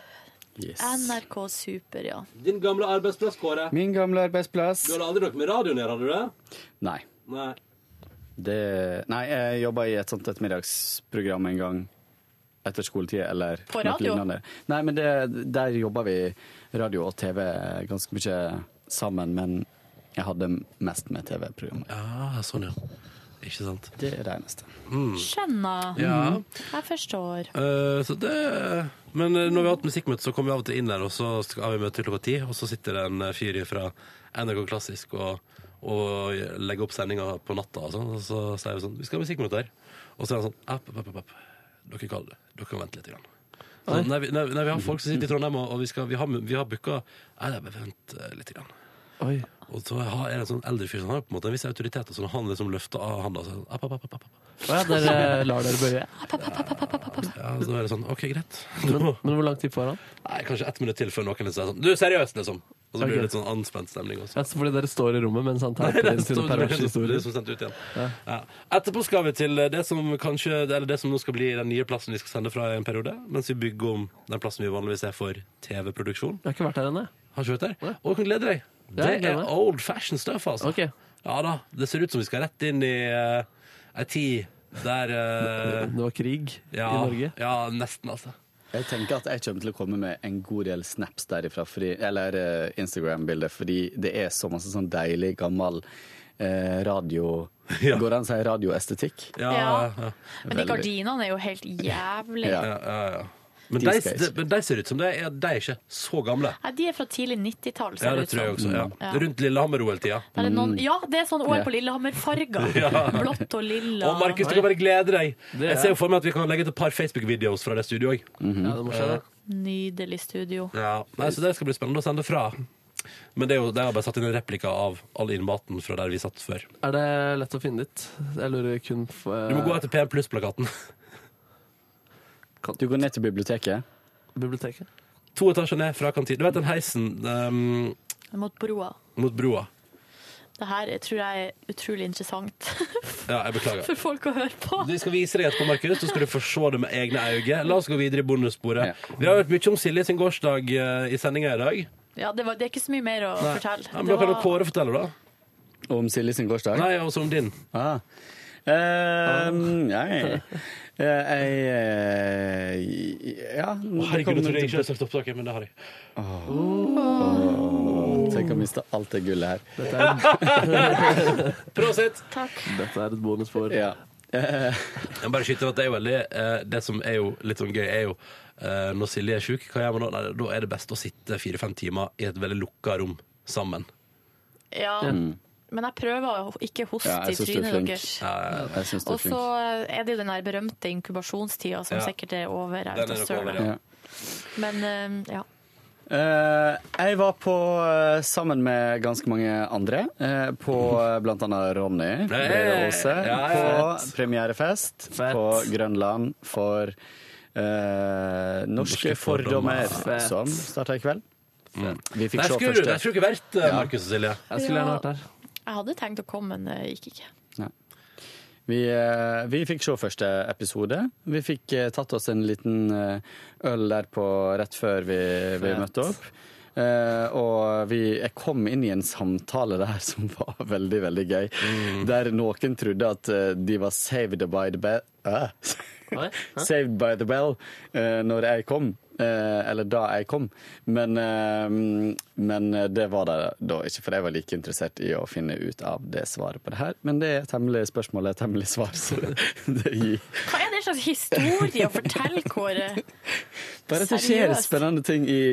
NRK Super, ja. Din gamle arbeidsplass, Kåre. Min gamle arbeidsplass. Du hadde aldri noe med radioen å gjøre, hadde du det? Nei. Nei. Det, nei, jeg jobba i et sånt ettermiddagsprogram en gang etter skoletid, eller På noe radio? lignende. Nei, men det, der jobba vi radio og TV ganske mye sammen, men jeg hadde mest med TV-programmer. Ja, sånn, ja. Ikke sant. Det er det eneste. Skjønner. Mm. Ja. Jeg forstår. Eh, så det Men eh, når vi har hatt musikkmøte, så kommer vi av og til inn der, og så skal- har vi møte til klokka ti, og så sitter det en eh, fyr fra NRK Klassisk og, og legger opp sendinga på natta og sånn, og så sier vi sånn Vi skal ha musikkmøte her. Og så er han sånn app, app, app, app. Dere kan, dere kan vente litt. Grann. Så, nei, vi- nei, nei, vi har folk som sitter i Trondheim, og og vi, skal, vi har, vi har booka Nei, nei, men vent eh, litt. Grann. Og så har- er det en sånn eldre fyr som har på en måte en viss autoritet, og så når han liksom løfter av handa sånn, app, app, app, app, app. Å ja, dere lar dere bøye? Ja, så er det sånn, ok, greit. Men, men hvor lang tid får han? Nei, kanskje ett minutt til før noen sier sånn Du, seriøst, liksom. Og så blir Ok. det litt sånn anspent stemning også. Ja, så fordi dere står i rommet mens han Nei, teiper det inn sine står- det er pervershistorier? som sendt ut igjen. Ja. Etterpå skal vi til det som kanskje Eller det som nå skal bli den nye plassen vi skal sende fra i en periode. Mens vi bygger om den plassen vi vanligvis er for TV-produksjon. Jeg har ikke vært der ennå. Har ikke vært der? Og du kan glede deg. Ja, jeg Det gleder er meg. old fashion stuff, altså. Ja da. Det ser ut som vi skal rett inn i eh, ei tid der eh, Det var krig ja, i Norge? Ja, nesten, altså. Jeg tenker at jeg kommer til å komme med en god del snaps derifra, fordi, eller eh, Instagram-bilder, fordi det er så masse sånn deilig, gammel eh, radio... Går det an å si radioestetikk? Ja, Men de gardinene er jo helt jævlig. Ja. Ja, ja, ja. Men De de, skal de, men de ser ut som de er, de er ikke så gamle. Nei, de er fra tidlig 90-tall, Ja, ser det det ut tror jeg også. som. Ja. Ja. Rundt Lillehammer-OL-tida. Der er noen, ja, det er sånn OL Ja. på Lillehammer-farger. Ja. Blått og lilla. Og Markus, du kan bare glede deg. Det er- Jeg ser jo for meg at vi kan legge ut et par Facebook-videoer fra det studioet òg. Ja, det må skje, det. Nydelig studio. Ja. Nei, så det skal bli spennende å sende fra. Men det er jo, de har bare satt inn en replika av all innmaten fra der vi satt før. Er det lett å finne dit? Jeg lurer kun eh, på Du må gå etter P1 Pluss-plakaten. Du går ned til biblioteket? Biblioteket. To etasjer ned fra kantina. Du vet den heisen ehm, Mot broa. mot broa? Det her tror jeg er utrolig interessant Ja, jeg beklager. for folk å høre på. Vi skal vise deg etterpå, Markus. Da skal du få se det med egne øyne. La oss gå videre i bonussporet. Vi har hørt mye om Silje sin gårsdag eh, i sendinga i dag. Ja, det, var, det er ikke så mye mer å Nei. fortelle. Ja, men Det da kan jo var- Kåre fortelle, da. Om Silje sin gårsdag? Nei, også om din. Ah. Ehm, nei. Eh, Jeg eh, Ja. Å, herregud, jeg trodde jeg ikke hadde søkt opptaket, men det har jeg. Tenk å miste alt det gullet her. Prosit! Dette er et bonusspor. Ja. Jeg må bare skyte inn at det er jo veldig eh, Det som er jo litt sånn gøy, er jo eh, når Silje er sjuk, hva gjør man da? Nei, da er det best å sitte fire-fem timer i et veldig lukka rom sammen. Ja, Mm. men jeg prøver å ikke hoste i trynet deres. Jeg syns Og så er det jo den der berømte inkubasjonstida som Ja. sikkert er over. jeg vet Den er da nok over, søren. ja. Men eh, ja. Eh, jeg var på, eh, sammen med ganske mange andre, eh, på eh, blant annet Ronny Eh, Brede Aase, Ja, ja, ja. på premierefest på Grønland for eh, norske, Norske fordommer. fordommer, Fett. som starta i kveld. Vi fikk Mm. Der se skulle du- første. der skulle du ikke vært, eh, Markus og Silje. Jeg skulle gjerne vært der. Jeg hadde tenkt å komme, men det gikk ikke. Vi, eh, vi fikk se første episode. Vi fikk eh, tatt oss en liten eh, øl der på rett før vi, vi Fett. møtte opp. Eh, og vi, jeg kom inn i en samtale der som var veldig, veldig gøy. Mm. Der noen trodde at eh, de var saved by the bell Ah. Saved by the bell eh, når jeg kom. eh, eller da jeg kom. Men, eh, men det var det da ikke, for jeg var like interessert i å finne ut av det svaret på det her. Men det er et hemmelig spørsmål, et hemmelig svar. Så det, det gir. Hva er det slags historie å fortelle, Kåre? Bare at det skjer Seriøst? spennende ting i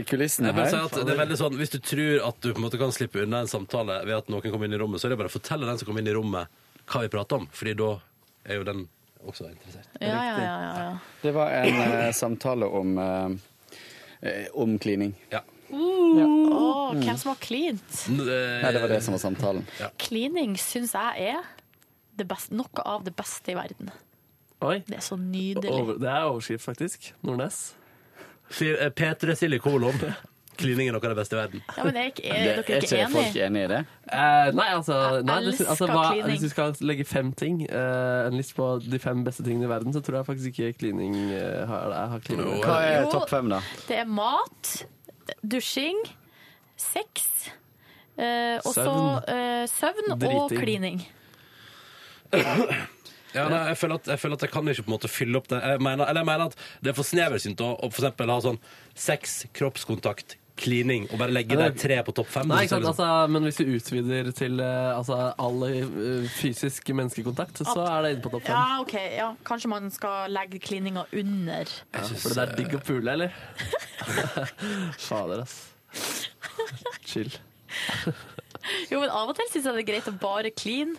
Jeg kulissene bare sier her. at det er veldig sånn, Hvis du tror at du på en måte kan slippe unna en samtale ved at noen kommer inn i rommet, så er det bare å fortelle den som kommer inn i rommet, hva vi prater om. Fordi da er jo den også interessert. Ja, ja, ja, ja, ja. Det var en eh, samtale om eh, eh, om klining. Åh, hvem som har klint? eh, Nei, det var det som var samtalen. Klining syns jeg er det beste, noe av det beste i verden. Det er så nydelig. Over, det er overskrift, faktisk. Nordnes. Petre Silje Kolon. Klining er noe av det beste i verden. Ja, men er, ikke- er dere ikke enige? enig i det? nei, altså, nei, det, elsker altså hva, klining. Hvis du skal legge fem ting, eh, en liste på de fem beste tingene i verden, så tror jeg faktisk ikke klining eh, har, jeg har klining. Hva er Jo. topp fem, da? Det er mat, dusjing, sex, eh, og så Søvn. eh, søvn og Driting. klining. Ja, nei, jeg, føler at, jeg føler at jeg kan ikke på en måte fylle opp det. Jeg mener, eller jeg mener at det er for sneversynt å å for eksempel ha sånn sex, kroppskontakt, klining og bare legge de Eller- tre på topp fem. så Nei, ikke sant? liksom- Altså, men hvis du utvider til eh, altså, all eh, fysisk menneskekontakt, så er det inne på topp fem. Ja, ok. Ja. Kanskje man skal legge klininga under. Ja, for det er digg å pule, eller? Fader, ass. Chill. Jo, men av og til syns jeg det er greit å bare clean.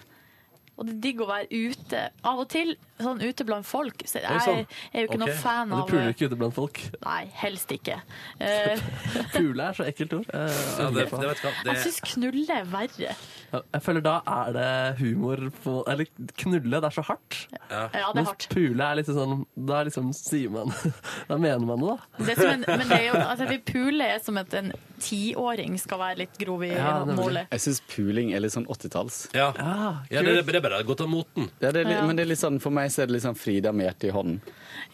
Og det er digg å være ute. Av og til, sånn ute blant folk, så jeg, Oi, sånn. er jo ikke Ok. noe fan Men av Du puler ikke ute blant folk. Nei, helst ikke. Eh, Pule er så ekkelt ord. Eh, Ja, det- det vet jeg hva, det- jeg syns knulle er verre. Ja, Jeg føler da er det humor på Eller knulle, det er så hardt. Ja, det er Mens hardt. pule er litt sånn Da liksom sier man Da mener man det, da. Det er som en, men det er jo, altså, vi puler er som at en tiåring skal være litt grov i målet. Jeg syns puling er litt sånn 80-talls. Ja, Ah. ja det, kult. det, det er bare godt av moten. Ja, det er litt, Ja. Men det er litt sånn, for meg så er det litt sånn Frida Mjerte i hånden,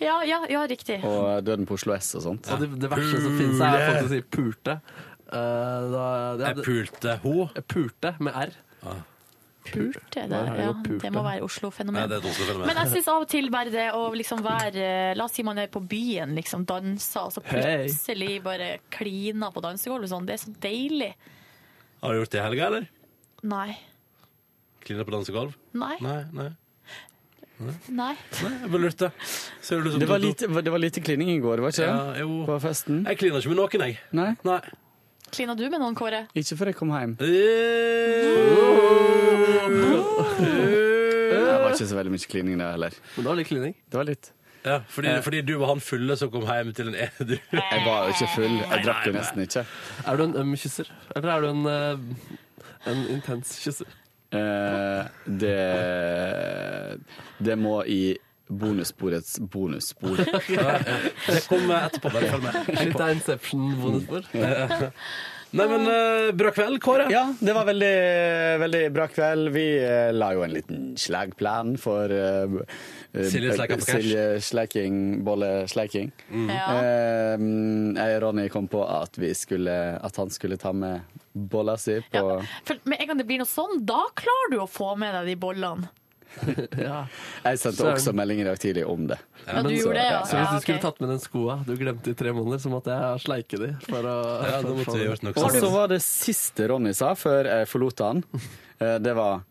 Ja, ja, ja, riktig. og Døden på Oslo S og sånt. Og det, det verste som finnes, er folk som sier 'pulte'. Eh, da, det, Jeg pulte ho. Pulte med r. Pulte, det, Der har jeg ja, jo pulte. det må være Ja, Oslo-fenomen. det er et Oslo-fenomen. Men jeg syns av og til bare det å liksom være eh, La oss si man er på byen, liksom danser, og så Hei. plutselig bare kliner på dansegulvet og sånn. Det er så deilig. Har du gjort det i helga, eller? Nei. Klina på dansegulv? Nei. Nei, nei. Nei. Nei, jeg bare lurte. Ser du det som Det var, dumt? lite, det var lite klining i går, var ikke Ja, det? På festen. Jeg kliner ikke med noen, jeg. Nei? Klina du med noen, Kåre? Ikke før jeg kom hjem. Det var ikke så veldig mye klining der heller. Men det var litt klining? Det var litt. Ja, fordi, Eh. fordi du var han fulle som kom hjem til en edru. Jeg var jo ikke full. Jeg drakk jo nei. nesten ikke. Er du en øm kysser? Eller er du en, eh, en intens kysser? Eh, det Det må i bonussporets bonusspor. Det kommer etterpå, bare følg med. Litt av Inception-bonus for. Mm. Nei, men eh, bra kveld, Kåre. Ja, det var veldig, veldig bra kveld. Vi eh, la jo en liten slagplan for eh, eh, Silje Sleiker på cash. Silje Sleiking, Bolle Sleiking. Ja. Eh, jeg og Ronny kom på at, vi skulle, at han skulle ta med bolla si på For med en gang det blir noe sånn, da klarer du å få med deg de bollene. Jeg sendte Så- også melding i dag tidlig om det. Ja, du gjorde det, ja. Så hvis Ja, du ok. skulle tatt med den skoa du glemte i tre måneder, så måtte jeg sleike de. For å, Ja, da måtte vi gjort noe Og så var det siste Ronny sa før jeg forlot han, eh, det var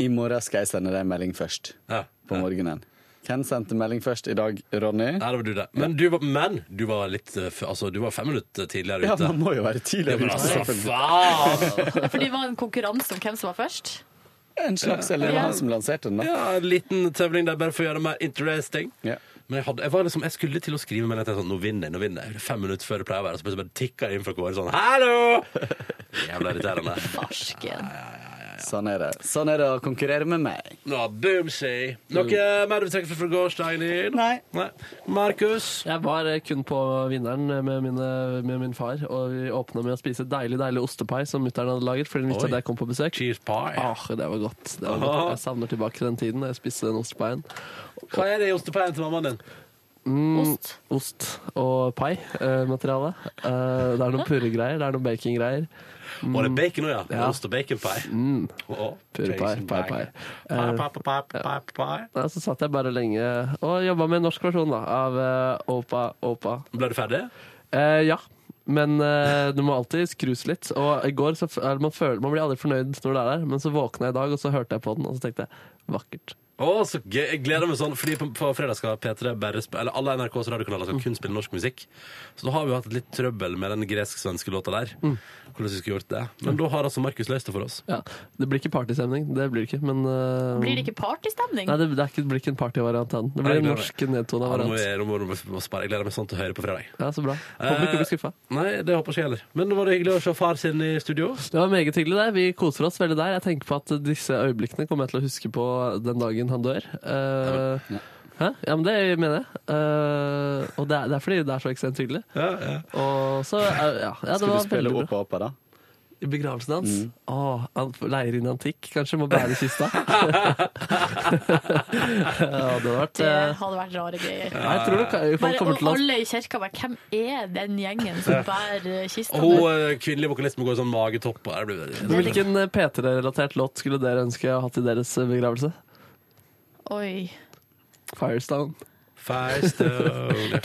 I morgen skal jeg sende deg en melding først. På morgenen. Hvem sendte melding først i dag, Ronny? Nei, det var du det. Men du var, men, du var litt eh, f- Altså, du var fem minutter tidligere Ja, ute. man må jo være Ja, tidligere men ute, altså, selvfølgelig. faen! For det var en konkurranse om hvem som var først. En slags, eller det var han som lanserte den, da. Ja, en liten tøvling der bare for å gjøre det mer interesting. Ja. Men jeg, hadde, jeg, var liksom, jeg skulle til å skrive, men jeg tenkte sånn, nå vinner jeg, nå vinner jeg. Fem minutter før det pleier å være, så plutselig bare tikker det inn fra Kåre sånn, hallo! Jævla irriterende. Farsken. Sånn er det. Sånn er det å konkurrere med meg. Nå, boomsy. Noe mer du vil trekke fra fra gårsdagen din? Nei. Markus? Jeg var eh, kun på vinneren med, mine, med min far, og vi åpna med å spise deilig deilig ostepai som mutter'n hadde laget. Fordi hun visste Oi. at jeg kom på besøk Åh, Det var godt. Det var godt. Aha. Jeg savner tilbake den tiden da jeg spiste den ostepaien. Hva er det i ostepeien til mammaen din? Mm, ost. og pai-materiale. Eh, det er noen purregreier, det er noen bakinggreier. Mm. Var det bacon òg, ja? Ost- og baconpai? Mm. Åh, Purrepai, bacon, pai, pai. bacon. Pai, pai, pai, pai, pai, pai. Nei, så satt jeg bare lenge og jobba med en norsk versjon da, av eh, Opa Opa. Ble du ferdig? Eh, ja. Men eh, du må alltid skrus litt. Og i går så f- eller man, føler, man blir aldri fornøyd når det er der, men så våkna jeg i dag, og så hørte jeg på den, og så tenkte jeg vakkert. Å, så gøy. Jeg gleder meg sånn, fordi på, på fredag skal P3 bare sp- Eller alle NRKs radiokanaler skal kun spille norsk musikk. Så da har vi jo hatt litt trøbbel med den gresk-svenske låta der. Mm. Hvordan vi skulle gjort det. Men da har altså Markus løst det for oss. Ja, Det blir ikke partystemning, det blir det ikke, men eh, Blir det ikke partystemning? Nei, det, det, er ikke, det blir ikke en partyvariant av den. Nei, Det jeg blir en gleder norsk nedtona Ja, nå må variant. vi, nå må, nå må vi spare. Jeg gleder meg sånn til å høre på fredag. Eh, Ja, så bra. Håper ikke du blir skuffa. Nei, det håper ikke jeg heller. Men var det hyggelig å se far sin i studio? Det var meget hyggelig der. Vi koser oss veldig der. Jeg tenker på at disse øyeblikkene kommer jeg til å huske på den dagen han dør. Eh, Hæ? Ja, men det mener jeg. Eh, og det er, det er fordi det er så ekstremt hyggelig. Og så, eh, ja, ja, det Skal var du spille veldig bra. opp og opp, da? Mm. I begravelsen hans? Åh, han får- leier inn antikk, kanskje? Må bære kista? ja, det hadde vært Det eh, hadde vært rare greier. Ja, jeg tror nok, eh, folk Bare, kommer til å- og alle i kirka bare Hvem er den gjengen som bærer kista? Og hun eh, kvinnelige vokalisten går i sånn magetopp. Og der blir det Hvilken eh, P3-relatert låt skulle dere ønske å ha til deres eh, begravelse? Oi. Firestone. Firestone.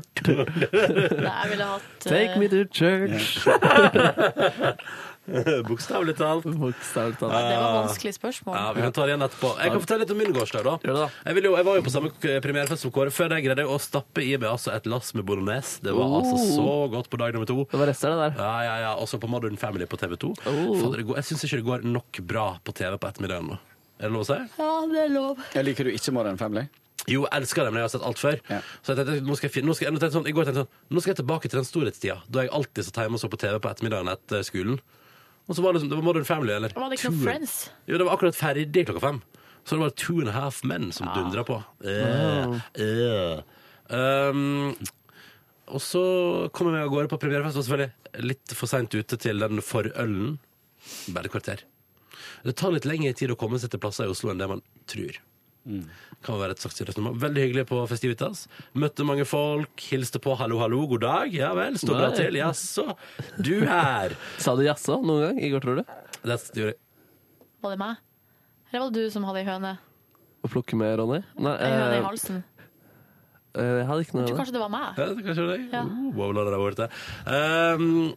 Nei, jeg ville hatt eh, Take me to church. Bokstavelig talt. Bokstavelig talt. Det var vanskelige spørsmål. Ah. Ja, vi kan ta det igjen etterpå. Jeg kan fortelle litt om min gårsdag, da. Jeg, ville jo, jeg var jo på samme k- premierefest som Kåre. Før det greide jeg å stappe i meg altså et lass med bolognese. Det var Oh. altså så godt på dag nummer to. Det var rester, det der. Ja, ja, ja. Også på Modern Family på TV 2. Fader, det går, jeg syns ikke det går nok bra på TV på ettermiddagen nå. Er det lov å si? Ja, det er lov. Jeg liker du ikke Modern Family? Jo, jeg elsker det, men jeg har sett alt før. Så jeg tenkte, nå skal jeg, finne- nå skal jeg, nå tenkte jeg sånn, I går tenkte jeg sånn Nå skal jeg tilbake til den storhetstida, da jeg alltid satt hjemme og så på TV på ettermiddagen etter skolen. Og så var det, liksom, det var Modern Family, eller Var det ikke noen Two- Friends? Jo, det var akkurat ferdig klokka fem. Så det var Two and a Half Men som dundra på. Eh, eh. Um, og så kom jeg meg av gårde på premierefest, og selvfølgelig litt for seint ute til den forølen. Bare et kvarter. Det tar litt lengre tid å komme seg til plasser i Oslo enn det man tror. Kan være et slags resonemang. Veldig hyggelig på Festivitas. Møtte mange folk, hilste på 'hallo, hallo, god dag'. Ja vel, står bra Nei. til. Jaså, du her. Sa du jaså noen gang i går, tror du? Det gjorde jeg. Var det meg? Eller var det du som hadde ei høne? Å plukke med, Ronny? Nei, Ei høne eh, i halsen? eh, jeg hadde Jeg ikke tror noe kanskje det var meg. Ja, det kanskje det. Ja. Oh, bowler der borte. Ehm,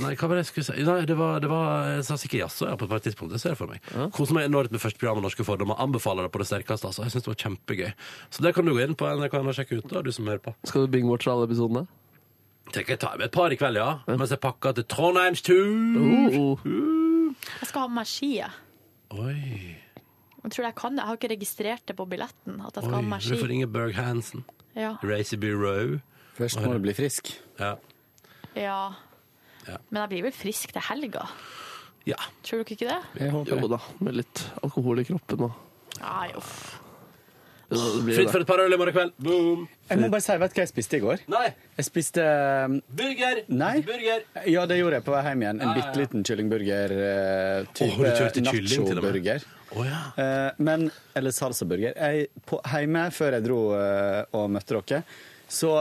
nei, hva var det jeg skulle si? Nei, det var, det var Jeg sa sikkert jazz også, ja, på et par tidspunkt. Det ser jeg for meg. Koser meg enormt med første program av Norske fordommer. Anbefaler det på det sterkeste. Altså. Jeg synes det var kjempegøy. Så det kan du gå inn på NRK og sjekke ut, da, du som hører på. Skal du bingwatche alle episodene? Tenker jeg tar med et par i kveld, ja. Mens jeg pakker til Trondheimstur. Uh-huh. Mm. Oh. Jeg skal ha med meg ski. jeg. Oi. Jeg tror jeg kan det. Jeg har ikke registrert det på billetten. At jeg skal Oi. ha med meg Du får ski. ringe Berg Hansen. Ja. Racy Bureau. Først må du bli frisk. Ja. ja. Ja. Men jeg blir vel frisk til helga. ja. Tror dere ikke det? Jo da, med litt alkohol i kroppen og Nei, uff. Jo, det blir Fritt det. for et par øl i morgen kveld. Boom! Jeg må bare si, vet du hva jeg spiste i går? Nei. Jeg spiste Burger! Nei. Burger! Ja, det gjorde jeg på vei hjem igjen. En bitte liten kyllingburger. eh, Type Åh, du kjørte kylling til og med? nachoburger. Å, ja. Eh, Men, eller salsaburger. Jeg, på, hjemme før jeg dro eh, og møtte dere, så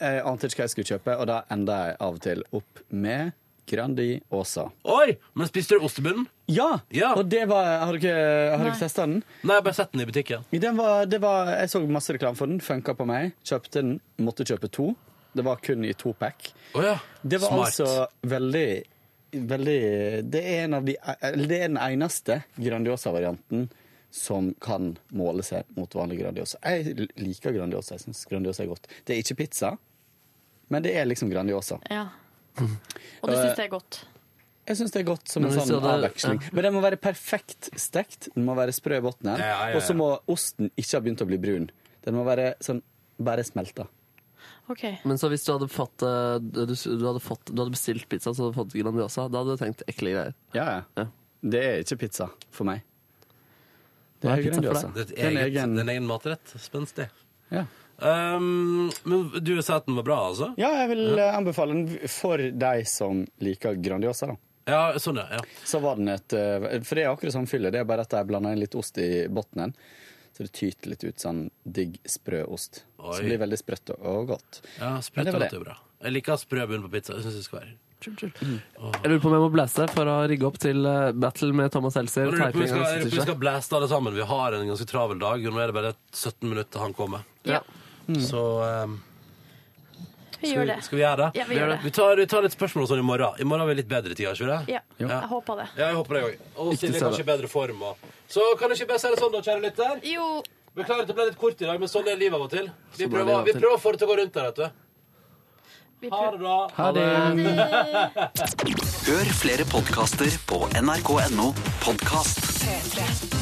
jeg ante ikke hva jeg skulle kjøpe, og da enda jeg av og til opp med Grandi Åsa. Oi! Men spiste du ostebunnen? Ja! Og det var Har du ikke, har du Nei. ikke testa den? Nei, jeg har bare sett den i butikken. Den var, det var, jeg så masse reklame for den, funka på meg. Kjøpte den, måtte kjøpe to. Det var kun i to pack. Det var Smart. altså veldig Veldig Det er, en av de, eller det er den eneste Grandiosa-varianten som kan måle seg mot vanlig Grandiosa. Jeg liker Grandiosa. Jeg syns Grandiosa er godt. Det er ikke pizza, men det er liksom Grandiosa. Ja. Og du Eh, syns det er godt? Jeg syns det er godt som Men en hvis sånn du hadde- avveksling. ja. Men den må være perfekt stekt. Den må være sprø i bunnen. Ja, ja, ja. Og så må osten ikke ha begynt å bli brun. Den må være sånn bare smelta. OK. Men så hvis du hadde, fått, eh, du, du hadde, fått, du hadde bestilt pizza så hadde du fått Grandiosa, da hadde du tenkt ekle greier. Ja, ja. Det er ikke pizza for meg. Det Hva er er pizza for Grandiosa. Det er et Den er eget- egen- det er en egen matrett. Spenstig. Ja. Um, men du sa at den var bra, altså? Ja, jeg vil eh, anbefale den for de som liker Grandiosa, da. Ja, sånn, ja. ja. Så var den et eh, For det er akkurat samme fyllet, det er bare at jeg blanda inn litt ost i bunnen. Så det tyter litt ut sånn digg, sprø ost. Oi. Som blir veldig sprøtt og godt. ja Men Sprøtt det og var godt det. er bra. Jeg liker sprø bunn på pizza. Jeg synes det skal være chill, chill. Jeg lurer på om jeg må blæse for å rigge opp til eh, battle med Thomas Seltzer. Men jeg lurer på om vi skal, jeg lurer Taiping og på om vi Sitcher. skal blæste alle sammen. Vi har en ganske travel Mm. dag. og Nå er det bare 17 minutter til han kommer. Ja. Så um, Vi gjør det. ehm, Skal vi gjøre det? Ja, vi gjør det. Vi tar, vi tar litt spørsmål og sånn i morgen. I morgen har vi litt bedre tid, har vi ikke det? Ja, jeg håper det. Ja, jeg håper det òg. Og Ikke Silje er se kanskje i bedre form. Og. Så kan jeg ikke bare si det sånn, da, kjære lytter? Jo. Beklager at det ble litt kort i dag, men sånn er livet av og til. Vi Sånn er livet prøver, av og vi til. prøver å få det til å gå rundt der, vet du. Ha det bra. Ha det. Hør flere podkaster på nrk.no podkast. P3.